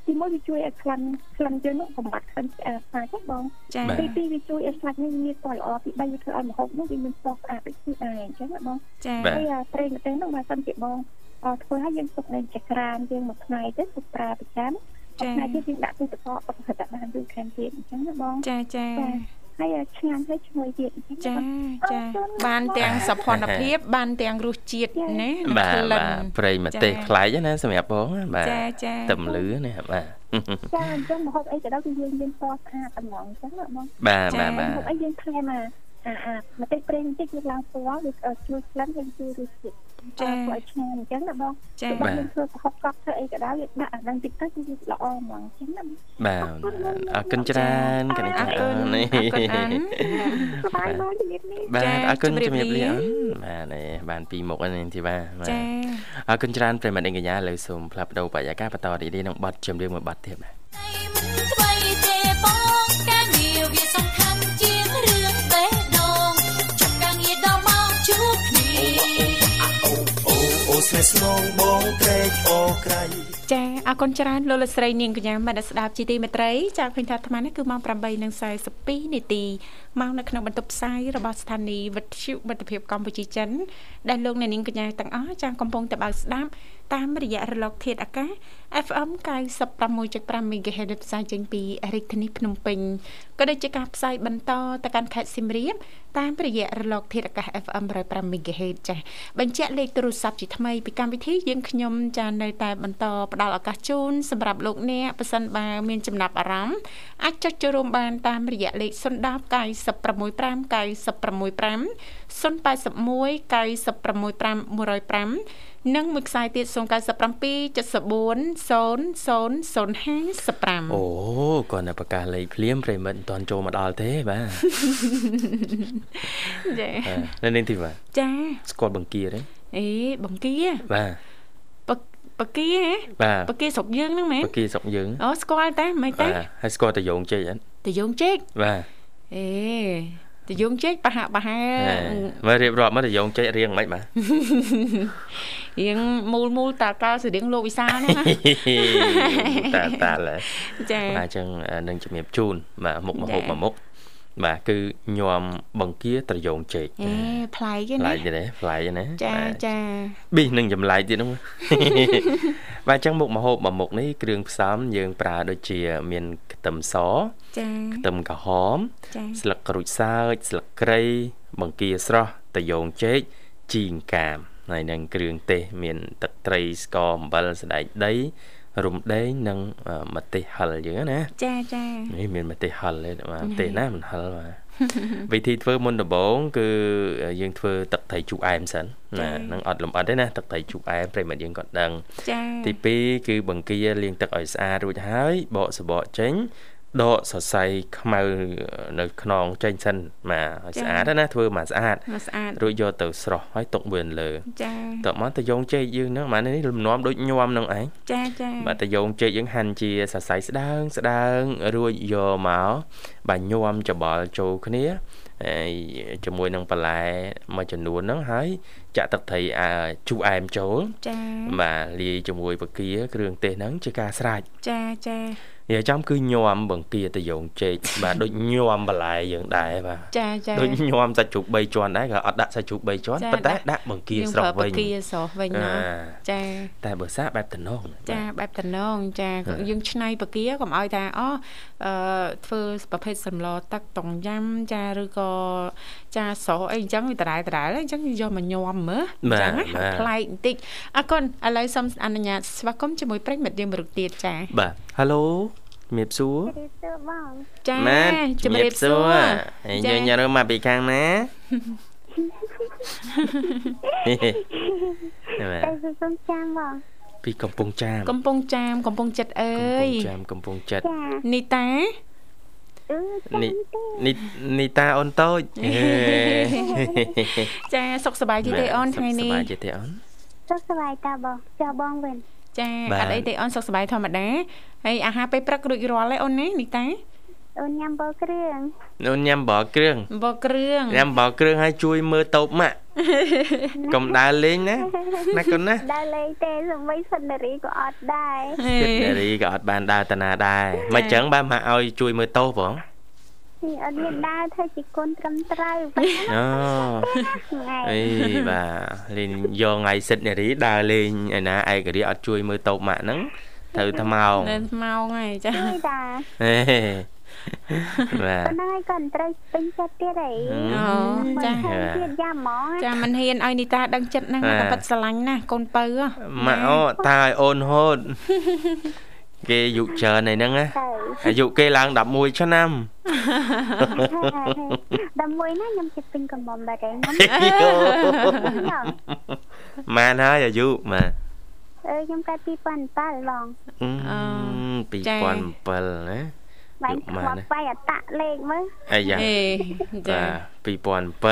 Speaker 6: ទីមួយវាជួយឲ្យក្លិនក្លិនយើងហ្នឹងបំបត្តិក្លិនឆ្អាសាច់ហ្នឹងបង
Speaker 1: ចា
Speaker 6: ទីពីរវាជួយឲ្យសាច់ហ្នឹងមានពណ៌ល្អទីបីវាធ្វើឲ្យម្ហូបហ្នឹងវាមានពណ៌ស្អាតដូចខ្លួនឯងអញ្ចឹងណាបង
Speaker 1: ចា
Speaker 6: ហើយអ่าប្រេងម្ទេសហ្នឹងបើសិនជាបងអ่าធ្វើឲ្យយើងទុកនៅចក្រានយើងមួយថ្ងៃទៅទុកប្រើប្រចាំមួយថ្ងៃទៀតយើងដាក់ទូទឹកកកអត់ប្រហែលបានយូរខាងទៀតអញ្ចឹងណាបង
Speaker 1: ចាចា
Speaker 6: ហើយអ่าឆ្ងាញ់ហើយឈ្ងុយទៀតអញ្ចឹ
Speaker 1: ចា
Speaker 6: ងណាបង
Speaker 1: ចាបានទាំងសភនភាព បានទាំងរសជាតិណា
Speaker 2: បាទ
Speaker 1: ក្លិ
Speaker 2: បាទ
Speaker 1: ន
Speaker 2: ប្រេងម្ទេស
Speaker 1: ចា៎
Speaker 2: ខ្លែកណាសម្រាប់បងណាបាទ
Speaker 1: ចាចា
Speaker 2: តឹមលឺណាបាទ
Speaker 6: ចាអញ្ចឹងម្ហូបអីក៏ដោយគឺយើងមានពណ៌ស្អាតតម្រងអញ្ចឹងណាបង
Speaker 2: បាទបាទបាទ
Speaker 6: ម្ហូបអីយើងថែមអាអាអាម្ទេសប្រេងបន្តិចវាឡើងពណ៌វាអ่าជួយក្លិនហើយជួយរសជាតិ
Speaker 1: ចា
Speaker 6: ធ្វើឲ្យឆ្ងាញ់អញ្ចឹងណាបង
Speaker 1: ចា
Speaker 6: បើយើងធ្វើប្រហុកកប់ធ្វើអី ក៏ដោយវាដាក់អាហ្នឹងតិចទៅគឺល្អហ្មងអញ្ចឹងណាបង
Speaker 2: បាទអរគុណច្រើនកញ្ញា
Speaker 1: អរគុណ
Speaker 2: អូន
Speaker 1: អ
Speaker 2: នេះ
Speaker 1: រគុណអា ន
Speaker 2: បាទអរគុណ
Speaker 6: សบายមកជំរាបនេះ
Speaker 1: ចា៎ជ
Speaker 2: ជំរាបលា
Speaker 1: ម្រាបលា
Speaker 2: អូនបាទឯងបានពីរមុខហ្នឹងធីវ៉ាបាទ
Speaker 1: ចា
Speaker 2: អរគុណច្រើនប្រិយមិត្តអីកញ្ញាលើសូមផ្លាប់ដោបរិយាកាសបន្តរីករាយនឹងបတ်ចម្រៀងមួយបတ်ទៀតបាទ
Speaker 7: ថ្មីទេបងការងារវាសំខាន់ជាងរឿងបេះដូងចប់ការងារដល់មកជួបគ្នា
Speaker 5: អូអូស្នេហ៍ស្នងបងត្រេកអូក្រៃ
Speaker 1: ចាអរគុណច្រើនលោកលោកស្រីនាងកញ្ញាមនស្ដាប់ជីទីមេត្រីចាឃើញថាអាត្មានេះគឺម៉ោង8:42នាទីមកនៅក្នុងបន្ទប់ផ្សាយរបស់ស្ថានីយ៍វិទ្យុមិត្តភាពកម្ពុជាចិនដែលលោកអ្នកនាងកញ្ញាទាំងអស់ចាកំពុងតែបើកស្ដាប់តាមរយៈរលកធាតុអាកាស FM 96.5 MHz ដែលផ្សាយចេញពីរាជធានីភ្នំពេញក៏ដូចជាការផ្សាយបន្តទៅកាន់ខេត្តសៀមរាបតាមរយៈរលកធាតុអាកាស FM 105 MHz ចាស់បញ្ជាក់លេខទូរស័ព្ទជាថ្មីពីកម្មវិធីយើងខ្ញុំចានៅតែបន្តផ្ ផ្ដល់ឱកាសជូនសម្រាប់លោកអ្នកប៉ះសិនបើមានចំណាប់អារម្មណ៍អាចចុចចូលរួមបានតាមរយៈលេខ010 965965 081 965 105និងមួយខ្សែទៀត0977400055
Speaker 2: អូគាត់នៅប្រកាសលេខភ្លាមប្រិមិត្តមិនទាន់ចូលមកដល់ទេ បាទ
Speaker 1: ចា
Speaker 2: នៅនេះទីបាទ
Speaker 1: ចា
Speaker 2: ស្គាល់បង្គាទេ
Speaker 1: អេបង្គា
Speaker 2: បាទ
Speaker 1: បបគាហ៎
Speaker 2: បាទ
Speaker 1: បគាស្រុកយើងហ្នឹងមែន
Speaker 2: បង្គាស្រុកយើង
Speaker 1: អូស្គាល់តែមិន
Speaker 2: បា
Speaker 1: ទេ
Speaker 2: ទហើយស្គាល់តយងជិចអត់
Speaker 1: តយងជែក
Speaker 2: បាទ
Speaker 1: អេតយងជែកប្រហាក់ប្រហែល
Speaker 2: ហើយមករៀបរាប់មកតយងជិចរៀងមិនបាទ
Speaker 1: រៀងមូលមូលតាកាលសរៀងលោកវិសាលហ្នឹងណា
Speaker 2: តាតាឡែ
Speaker 1: ចា
Speaker 2: បាទអញ្ចឹងអឺនឹងជំរាបជូនបាទមុខម
Speaker 1: ចា៎
Speaker 2: ហូបមួយមុខបាទគឺញោមបង្គាត្រយងចេក
Speaker 1: អេប្លែកទេ
Speaker 2: ប្លែ
Speaker 1: ណា
Speaker 2: កទេណាប្លែកទេណា
Speaker 1: ចា
Speaker 2: បាទ
Speaker 1: ចា
Speaker 2: ប៊ីសនឹងចម្លែកទៀតហ្នឹង បាទអញ្ចឹងមុខមហូបមួយមុខនេះគ្រឿងផ្សំយើងប្រើដូចជា មានខ្ទឹមស
Speaker 1: ចា
Speaker 2: ខ្ទឹមក្រហម
Speaker 1: ចា
Speaker 2: ស្លឹកក្រូចសើចស្លឹកគ្រៃបង្គាស្រស់ត្រយងចេកជីងកាមហើយនឹងគ្រឿងទេសមាន ទឹកត្រីស្ករអំបិលសណ្តែកដី រំដេងនិងអឺម្ទេសហិលយើងណា
Speaker 1: ចាចា
Speaker 2: នេះមានម្ទេសហិលទេបាទម្ទេសណាមិនហិលបាទ វិធីធ្វើមុនដំបូងគឺយើងធ្វើទឹកត្រីជូរអែមសិនណាហ្នឹងអត់លំអិតទេណាទឹកត្រីជូរអែមប្រិមត្តយើងគាត់ដឹង
Speaker 1: ចា
Speaker 2: ទី2គឺបង្គាលាងទឹកឲ្យស្អាតរួចហើយបកសបកចេញដកសរសៃខ្មៅនៅខ្នងចេញសិនបាទឲ្យស្អាតណាធ្វើមកស្អាត
Speaker 1: មកស្អាត
Speaker 2: រួចយកទៅស្រស់ហើយទុកវាលើ
Speaker 1: ចា
Speaker 2: តមកតយងចេកយើងហ្នឹងអានេះលំនាំដូចញោមហ្នឹងឯង
Speaker 1: ចាចា
Speaker 2: បាទតយងចេកយើងហាន់ជាសរសៃស្ដើងស្ដើងរួចយកមកបាទញាំច្បល់ចូលគ្នាហើយជាមួយនឹងបន្លែមួយចំនួនហ្នឹងហើយចាក់ទឹកត្រីអ่าជូរអែមចូល
Speaker 1: ចា
Speaker 2: បាទលាយជាមួយបង្គាគ្រឿងទេសហ្នឹងជាការស្រេច
Speaker 1: ចាចា
Speaker 2: និយាយចំគឺញាំបង្គាតយងចេក បាទដូចញាំបន្លែយើងដែរបាទ
Speaker 1: ចាចា
Speaker 2: ដូចញាំសាច់ជ្រូក3ជាន់ដែរក៏អត់ដាក់សាច់ជ្រូក3ជាន់ប៉ុន្តែដាក់បង្គា
Speaker 1: យើង
Speaker 2: ស្រស់
Speaker 1: ប្រើ
Speaker 2: វិញ
Speaker 1: បគាស្រស់វិញណា
Speaker 2: អា
Speaker 1: ចា
Speaker 2: តែបើសាបែបតំណងបាទ
Speaker 1: ចាបែបតំណងចាយើងឆ្នៃបគាកុំឲ្យថាអូអឺធ្វើប្រភេទសម្លទឹកតុងយ៉ាំចាឬក៏ចាស្រស់អីអញ្ចឹងវាដដែលដដែលអញ្ចឹងយកមកញោមមើលអ
Speaker 2: បាទ
Speaker 1: ញ្ចឹងណា
Speaker 2: បាទ
Speaker 1: ប្លែកបន្តិចអរគុណឥឡូវសូមអនុញ្ញាតស្វាគមន៍ជាមួយប្រិយមិត្តយើងមួយរូបទៀតចា
Speaker 2: បាទ Halo ជំរាបសួរ
Speaker 6: ទេទៅបង
Speaker 1: ចា
Speaker 2: ម៉ែ
Speaker 1: ជំរាបសួរ
Speaker 2: ហើយ
Speaker 1: ចា
Speaker 2: យើងញ៉ាំមកពីខាងណាបាទ
Speaker 6: ទៅសុំចាំបង
Speaker 2: ពីកំពង់ចាម
Speaker 1: កំពុងចាមកំពុងចិត្តអើយ
Speaker 2: ចាមកំពង់ចិត្ត
Speaker 6: ចា
Speaker 1: នីតា
Speaker 6: អឺ
Speaker 2: នេះនេះនីតាអូនតូចហេ
Speaker 1: ចាសុខសប្បាយទេទេអូនថ្ងៃនេះ
Speaker 2: សុខសប្បាយជាទេអូន
Speaker 6: សុខសប្បាយតាបងចៅបងវិញ
Speaker 1: ចា
Speaker 2: បា
Speaker 1: អ
Speaker 2: ទ
Speaker 1: ត់អីទេអូនសុខសប្បាយធម្មតាហើយអាហារពេលព្រឹករួចរាល់ហើយអូនណានីតា
Speaker 6: អូនញ៉ាំបើគ្រឿង
Speaker 2: អូនញ៉ាំបើគ្រឿង
Speaker 1: អំបោះគ្រឿង
Speaker 2: ញ៉ាំបើគ្រឿងហើយជួយមើលតូបម៉ាក់កុំដើរលេងណាណាកូន ណា
Speaker 6: ដើរលេងទេសម្បីសិននារីក៏អត់ដែរ
Speaker 1: ហេ
Speaker 2: ចិត្តនារីក៏អត់បានដើរតាណាដែរមិនចឹងបានមកឲ្យជួយមើលតូបបង
Speaker 6: នេះអត់មានដើរធ្វើជាគុណត្រឹមត្រូវបាត់
Speaker 2: អូ
Speaker 6: ថ្ងៃ
Speaker 2: អីបាទលេងយកថ្ងៃសិទ្ធិនារីដើរលេងឯណាឯករាជ្យអត់ជួយមើលតូបម៉ាក់ហ្នឹងត្រូវថ្មោង
Speaker 1: នៅ ម៉ោងហើយចា
Speaker 6: អីតា
Speaker 2: ហេបាទ
Speaker 6: ប៉ុណ្ណឹងហើយក៏មិនត្រូវពេញចិត្តទៀតអី
Speaker 1: អូចា
Speaker 6: មិនត្រូវទៀតយ៉ាហ្មង
Speaker 1: ចាមិនហ៊ានឲ្យនីតាដឹងចិត្តហ្នឹង
Speaker 2: បាទ
Speaker 1: តែប៉ិតស្រឡាញ់ណាស់កូនពៅហ៎
Speaker 2: ម៉ាក់អូតាឲ្យអូនហូតគេអាយុច្រើនឯហ្នឹងណា
Speaker 6: ទៅ
Speaker 2: អាយុគេឡើង11ឆ្នាំ
Speaker 6: ដល់មួយណាខ្ញុំជិះពេញកំមុំបាត់ហើយខ្ញុំ
Speaker 2: ម៉ានហើយអាយុម៉ា
Speaker 6: អើខ្ញុំកើត2007បង
Speaker 2: 2007ណា
Speaker 6: បាញ់ខ្វល់បាយអតៈលេខមើល
Speaker 2: អាយ៉ា
Speaker 1: ហេ
Speaker 2: បា
Speaker 1: ចា
Speaker 2: ទ2007ឯនេះទីបាទមក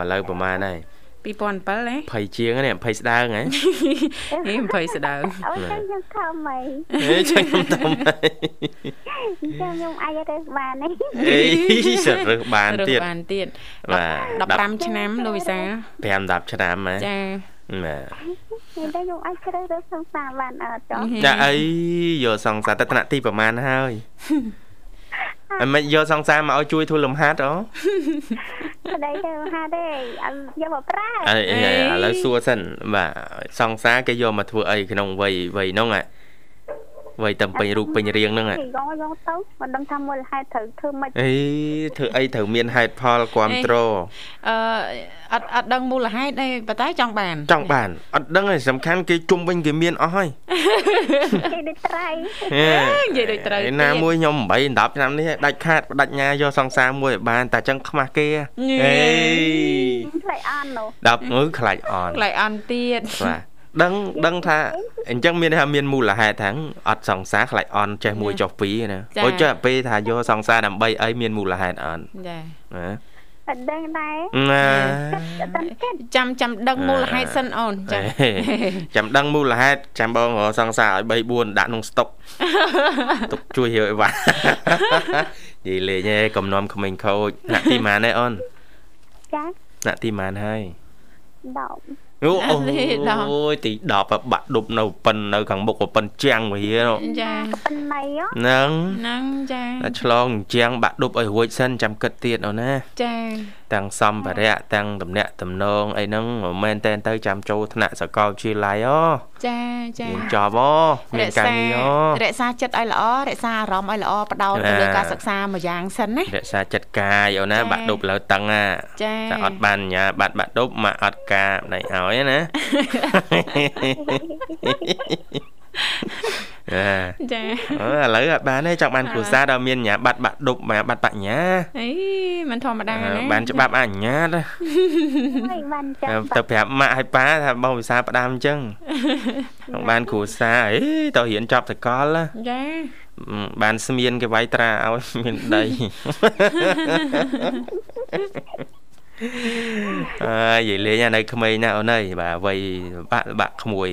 Speaker 2: ឥឡូវប្រហែលហើយ
Speaker 1: 2007ហ៎
Speaker 2: 20ជាងហ្នឹង20ស្ដើងហ៎
Speaker 1: ហេមិនភ័យស្ដៅ
Speaker 6: អូចឹងខ្ញុំខំអី
Speaker 2: អេចាញ់ខ្ញុំតាមហើយ
Speaker 6: ចឹងខ្ញុំអាចរើសបាននេះ
Speaker 2: អេសរើសបាន
Speaker 1: រើស
Speaker 2: ទៀត
Speaker 1: បានទៀត
Speaker 2: បាទ
Speaker 1: 15ឆ្នាំលោកវិសាល
Speaker 2: 15 10ឆ្នាំហ៎
Speaker 1: ចា
Speaker 2: ណា
Speaker 6: និយាយតែខ្ញុំអាចជ្រើសរើសសង្សារបានអត់ចុះ
Speaker 2: ចាអីយកសង្សារទៅថ្នាក់ទីប្រហែល ហើយអមិនយកសង្សារមកឲ្យជួយធ្វើលំហាត់អូ
Speaker 6: ប្តីទៅហាទេអត់យកមកប្រើ
Speaker 2: អីអី
Speaker 1: អេ
Speaker 2: ឥឡូវសួរសិនបាទសង្សារគេយកមកធ្វើអីក្នុងវ័យវ័យហ្នឹងហ៎ វ័យតែពេញរូបពេញរាងហ្នឹងហ៎
Speaker 6: គេយកយកទៅមិនដឹងថាមូលហេតុត្រូវធ្វើម៉េច
Speaker 2: អីធ្វើអីត្រូវមានហេតុផលគ្រប់គ្រង
Speaker 1: អឺអត់អត់ដឹងមូលហេតុទេប៉ុន្តែចង់បាន
Speaker 2: ចង់បានអត់ដឹងទេសំខាន់គេជុំវិញគេមានអស់ហើយ
Speaker 6: គេដូចត្រៃ
Speaker 2: ហេ
Speaker 1: និយាយដូចត្រូវ
Speaker 2: ឯណាមួយខ្ញុំ8 10ឆ្នាំនេះដាច់ខាតបដិញ្ញាយកសង្សារមួយឲ្យបានតែចឹងខ្មាស់គេហេ
Speaker 6: ផ្លៃអាននោះ
Speaker 2: ដល់មើលខ្លាចអន់
Speaker 1: ខ្លាចអន់ទៀត
Speaker 2: បាទដឹងដឹងថាអញ្ចឹងមានន័យថាមានមូលហេតុថាអត់សង្សារខ្លាចអន់ចេះមួយចុះពីរណាអូចេះពេលថាយកសង្សារដើម្បីអីមានមូលហេតុអន់
Speaker 1: ចា
Speaker 2: ណា
Speaker 6: អត់ដឹងដែរ
Speaker 2: ណា
Speaker 6: តែគេ
Speaker 1: ចាំចាំដឹងមូលហេតុសិនអូនចា
Speaker 2: ហេចាំដឹងមូលហេតុចាំបងរកសង្សារឲ្យ3 4ដាក់ក្នុង ស្តុក ទុកជួយរើអីវ៉ា និយាយលេងឯងកំនំក្មេងខូចដាក់ទីម៉ានឯអូន
Speaker 6: ចា
Speaker 2: ដាក់ទីម៉ានហើយ
Speaker 6: ដប់
Speaker 2: អូអូ
Speaker 1: ដាក់ទី10
Speaker 2: អូយទី10ហើយបាក់ដប់នៅប៉ិននៅខាងមុខប៉ិនជាង វានោះ
Speaker 1: ចា
Speaker 6: ប៉ុណ្ណៃហ៎
Speaker 2: ហ្នឹង
Speaker 1: ហ្នឹងចា
Speaker 2: តែឆ្លងជាងបាក់ដប់ឲ្យរួចសិនចាំគិតទៀតអូនណា
Speaker 1: ចា
Speaker 2: ទាំងសម្ភារៈទាំងតំណាក់តំណងអីហ្នឹងមិនមែនតែនទៅចាំចូលថ្នាក់សកលវិទ្យាល័យអូ
Speaker 1: ចាចា
Speaker 2: មានចប់អូមានការងារអូ
Speaker 1: រក្សាចិត្តឲ្យល្អរក្សាអារម្មណ៍ឲ្យល្អបដោតទៅលើ
Speaker 2: ចា
Speaker 1: ការសិក្សាមួយយ៉ាងសិនណា
Speaker 2: រក្សាចិត្តកាយអូនណា
Speaker 1: ចា៎
Speaker 2: បាក់ដប់លើតឹងណា
Speaker 1: ចា៎
Speaker 2: តែអត់បានញ៉ាបាត់បាក់ដប់មកអត់ការណៃឲ្យ ណាអា
Speaker 1: ចា
Speaker 2: អូឥឡូវអត់បានទេចង់បានគ្រូសាដល់មានញ៉ាបាត់បាក់ដប់មកបាត់បញ្ញា
Speaker 1: អីមិនធម្មតាណា
Speaker 2: បានច្បាប់អនុញ្ញាត
Speaker 6: ហើយបានចាំបា
Speaker 2: ទៅ
Speaker 6: ត់
Speaker 2: ប្រាប់ម៉ាក់ឲ្យប៉ាថាបងវិសាផ្ដាំអញ្ចឹងចង់បានគ្រូសាអីទៅរៀនចប់សកលណា
Speaker 1: ចា
Speaker 2: អឺបានស្មៀនគេវាយត្រាឲ្យ មានដីអើយនិយាយលេងអានៅក្មេងណាអូនអើយបាទវ័យបាក់បាក់ក្មួយ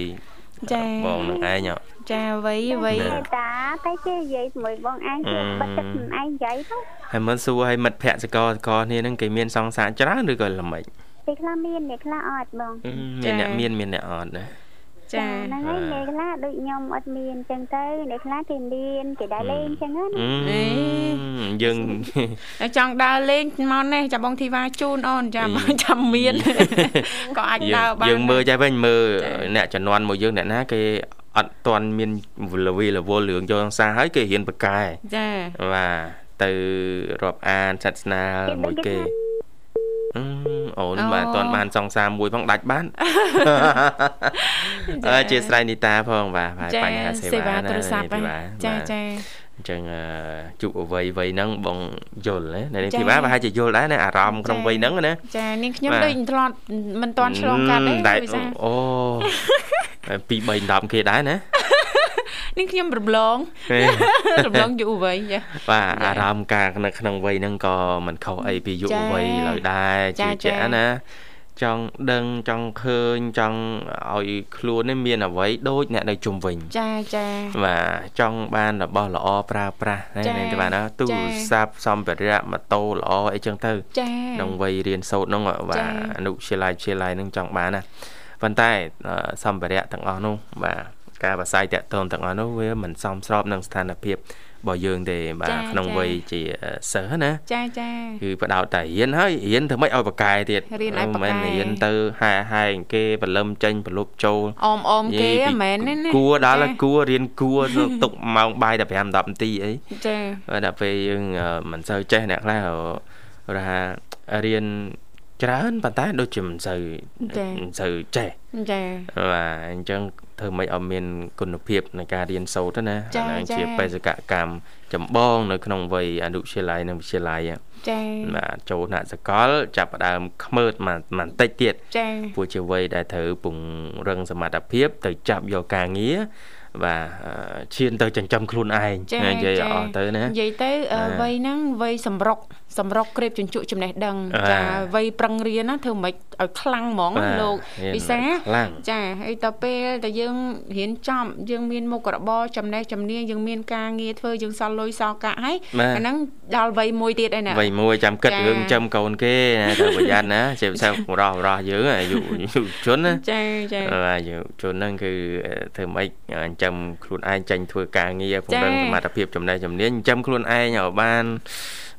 Speaker 1: ចា
Speaker 2: បងនឹងឯងហ៎
Speaker 1: ចាវ័យវ័យ
Speaker 6: គេតាតែគេនិយាយជាមួយបងឯងគេ
Speaker 2: អឺ
Speaker 6: បាត់ទឹកខ្លួនឯងនិយាយទៅ
Speaker 2: ហើយមិនសួរឲ្យមិត្តភ័ក្តិសកលសកលគ្នាហ្នឹងគេមានសង្សារច្រើនឬក៏ល្មិច
Speaker 6: គេខ្លះមានអ្នកខ្លះអត់បង
Speaker 1: ចា
Speaker 2: មានអ្នកមានមានអ្នកអត់ណា
Speaker 1: ចា
Speaker 6: ហ្នឹងហើយអ្នកខ្លះដូចខ្ញុំអត់មានអញ្ចឹងទៅអ្នកខ្លះគេមានគេដែរលេងអញ្ចឹងណា
Speaker 2: អឺយើង
Speaker 1: ហើយចង់ដើរលេងមកនេះចាបងធីវ៉ាជូនអូនចា
Speaker 2: អី
Speaker 1: បងចាំ មានក៏អាច
Speaker 2: យើ
Speaker 1: ដើ
Speaker 2: ង
Speaker 1: របាន
Speaker 2: យើងមើល
Speaker 1: ចា
Speaker 2: ចេះវិញមើល
Speaker 1: ចា
Speaker 2: អ្នកចំនួនមកយើងអ្នកណាគេអត់ទាន់មានលវីលវលរឿងយកសង្សារហើយគេរៀនបកកែ
Speaker 1: ចា
Speaker 2: បាទទៅរាប់អានសាសនាមួយគេអឺអូនបាទតន់បានសង្សារមួយផងដាច់បានអើជាស្រ័យនីតាផងបាទបាទបញ្ហាសេវាណា
Speaker 8: ទូរស័ព្ទ
Speaker 2: នេះបាទ
Speaker 1: ចា
Speaker 2: បាទ
Speaker 1: ចា
Speaker 2: អញ្ចឹងអឺជួបអវ័យវ័យហ្នឹងបងយល់ណានៅនេះទីបាទប្រហែលជាយល់ដែរណាអារម្មណ៍ក្នុងវ័យហ្នឹងណា
Speaker 1: ចានាងខ្ញុំ
Speaker 2: បាទ
Speaker 1: ដូចមិនធ្លាប់មិនទាន់ឆ្លងកាត់ទេ
Speaker 2: តែ
Speaker 1: វិ សា
Speaker 2: អូពី3 10គេដែរណា
Speaker 1: នាងខ្ញុំរំលង រំលងយុវវ័យចា
Speaker 2: បាទអារម្មណ៍ការនៅក្នុងវ័យហ្នឹងក៏មិនខុសអីពីយុវ
Speaker 1: ចា
Speaker 2: វ័យឡើយដែរ
Speaker 1: ចា
Speaker 2: ជា
Speaker 1: ចា
Speaker 2: ជាក់ណាចង់ដឹងចង់ឃើញចង់ឲ្យខ្លួននេះមានអ្វីដូចអ្នកនៅជុំវិញ
Speaker 1: ចាចា
Speaker 2: បាទចង់បានរបស់ល្អប្រើប្រាស់ណា
Speaker 1: ចា
Speaker 2: នេះទៅបានណាទូ
Speaker 1: ចា
Speaker 2: រស័ព្ទសម្ភារៈម៉ូតូល្អអីចឹងទៅ
Speaker 1: ចា
Speaker 2: ក្នុងវ័យរៀនសូត្រហ្នឹងបាទ
Speaker 1: ចា
Speaker 2: អនុវិទ្យាល័យវិទ្យាល័យហ្នឹងចង់បានណាប៉ុន្តែអឺសម្ភារៈទាំងអស់នោះបាទការប្រាស្រ័យតាក់ទងទាំងអស់នោះវាមិនសមស្របនឹងស្ថានភាពរបស់យើងទេបាទក្នុងវ័យជាសិស្សណា
Speaker 1: ចាចា
Speaker 2: គឺបដោតតែរៀនហើយរៀនធ្វើម៉េចឲ្យបកកាយទៀត
Speaker 1: រៀនឲ្យបកា
Speaker 2: មិនមែន
Speaker 1: យ
Speaker 2: រៀនទៅហែហែងគេបលឹមចេញបលប់ចូល
Speaker 1: អមអមគេ
Speaker 2: យាយពី
Speaker 1: មិនមែនទេណា
Speaker 2: គួរដល់
Speaker 1: ចា
Speaker 2: ហើយគួររៀនគួរ ទុកម៉ោងបាយតែ5 10នាទីអី
Speaker 1: ចា
Speaker 2: ហើយដល់ពេលយើងអឺមិនសូវចេះអ្នកខ្លះរហថារៀនច្រើនប៉ុន្តែដូចជាមិនសូវមិនសូវចេះ
Speaker 1: ចា
Speaker 2: បាទអញ្ចឹងធ្វើម៉េចឲ្យមានគុណភាពនៃការរៀនសូត្រទៅណា
Speaker 1: ចា
Speaker 2: ហ្នឹង
Speaker 1: ចា
Speaker 2: ជាបេសកកម្មចម្បង នៅក្នុងវ័យអនុវិទ្យាល័យនិងវិទ្យាល័យហ្នឹង
Speaker 1: ចា
Speaker 2: បាទចូលថ្នាក់សកល ចាប់ផ្ដើមខ្មើតមកបន្តិចទៀត
Speaker 1: ចា
Speaker 2: ព្រោះជាវ័យដែលត្រូវពង្រឹងសមត្ថភាព ទៅចាប់យកការងារបាទអឺឈានទៅចិញ្ចឹមខ្លួនឯង
Speaker 1: ចា
Speaker 2: និយាយឲ្យអស់ទៅណា
Speaker 1: និយាយទៅអឺ
Speaker 2: បាទ
Speaker 1: វ័យហ្នឹងវ័យសម្រុកសម្រុកក្រេបជញ្ជក់ចំណេះដឹង
Speaker 2: បាទ
Speaker 1: ចាវ័យប្រឹងរៀនណាធ្វើម៉េចឲ្យខ្លាំងហ្មង
Speaker 2: បាទ
Speaker 1: លោក
Speaker 2: រៀន
Speaker 1: វិសា
Speaker 2: ឲ្យខ្លាំង
Speaker 1: ចាហើយតទៅពេលតែយើងរៀនចប់យើងមានមុខរបរចំណេះចំណាញយើងមានការងារធ្វើយើងសល់លុយសល់កាក់ហើយ
Speaker 2: បា
Speaker 1: អា
Speaker 2: ទ
Speaker 1: ហ្នឹងដល់វ័យមួយទៀតឯណា
Speaker 2: វ័យមួយចាំគិត
Speaker 1: ចា
Speaker 2: រឿងចិញ្ចឹមកូនគេណាត្រូវប្រយ័ត្នណាជាពិសេសម្រោះម្រោះយើងអាយុយុវជនណា
Speaker 1: ចាចា
Speaker 2: បាទយុវជនហ្នឹងគឺអឺធ្វើម៉េចអញ្ចឹម ចាំខ្លួនឯងចាញ់ធ្វើការងារពង្រឹង
Speaker 1: ចា៎
Speaker 2: សមត្ថភាពចំណេះចំណាញចាំខ្លួនឯងឲ្យបាន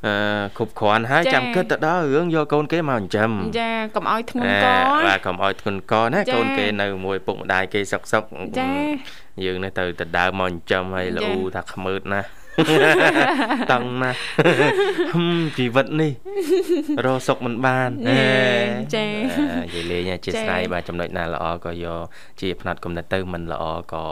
Speaker 2: អឺគ្រប់គ្រាន់ហើយ
Speaker 1: ចា៎
Speaker 2: ចាំគិតទៅដល់រឿងយកកូនគេមកចិញ្ចឹម
Speaker 1: ចាកុំឲ្យធ្ងន់
Speaker 2: ណា
Speaker 1: ក
Speaker 2: បាទកុំឲ្យធ្ងន់កណា
Speaker 1: ចា៎
Speaker 2: កូនគេនៅមួយពុកម្ដាយគេសុកសុក
Speaker 1: ចា៎
Speaker 2: យើងនេះទៅដណ្ដើមមកចិញ្ចឹមហើយ
Speaker 1: ចា៎
Speaker 2: លូថាខ្មើតណាស់ តឹងណាស់ហឹមជីវិតនេះ រកសុខមិនបាន
Speaker 1: យេចា
Speaker 2: និយាយលេងអាជា
Speaker 1: ចា
Speaker 2: ស្រ័យបាទចំណុចណាល្អក៏យកជាផ្នែកកំណត់ទៅមិនល្អក៏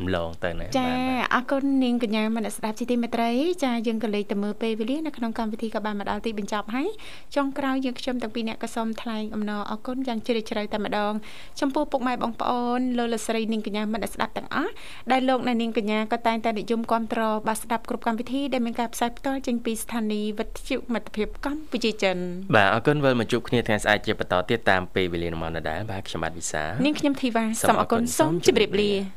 Speaker 2: រំលងទៅណា
Speaker 1: ចា
Speaker 2: បាទបាទ
Speaker 1: អរគុណនាងកញ្ញាមនស្សស្ដាប់ជីទីមេត្រីចាយើងក៏លេខទៅមើលពេលវេលានៅក្នុងកម្មវិធីក៏បានមកដល់ទីបញ្ចប់ហើយចុងក្រោយយើងខ្ញុំទាំងពីរអ្នកក៏សូមថ្លែងអំណរអរគុណយ៉ាងជ្រាលជ្រៅតែម្ដងចំពោះពុកម៉ែបងប្អូនលោកលោកស្រីនាងកញ្ញាមនស្សស្ដាប់ទាំងអស់ដែលលោកអ្នកនាងកញ្ញាក៏តែងតែនិយមគាំទ្របាទស្ដាប់គ្រប់កម្មវិធីដែលមានការផ្សាយផ្ទាល់ចេញពីស្ថានីយ៍វិទ្យុមិត្តភាពកម្ពុជាចិន
Speaker 2: បាទអរគុណវិលមកជួបគ្នាថ្ងៃស្អែកជាបន្តទៀតតាមពេលវេលានាំដដែលបាទខ្ញុំបាទវិសា
Speaker 1: នាងខ្ញុំធីវ៉ា
Speaker 2: សូ
Speaker 1: សូម
Speaker 2: ម
Speaker 1: អ
Speaker 2: អ
Speaker 1: រ
Speaker 2: រគុ
Speaker 1: គុណ
Speaker 2: ណ
Speaker 1: សូម
Speaker 2: សូម
Speaker 1: ជម្រាប
Speaker 2: ជម្រាបលា
Speaker 1: លា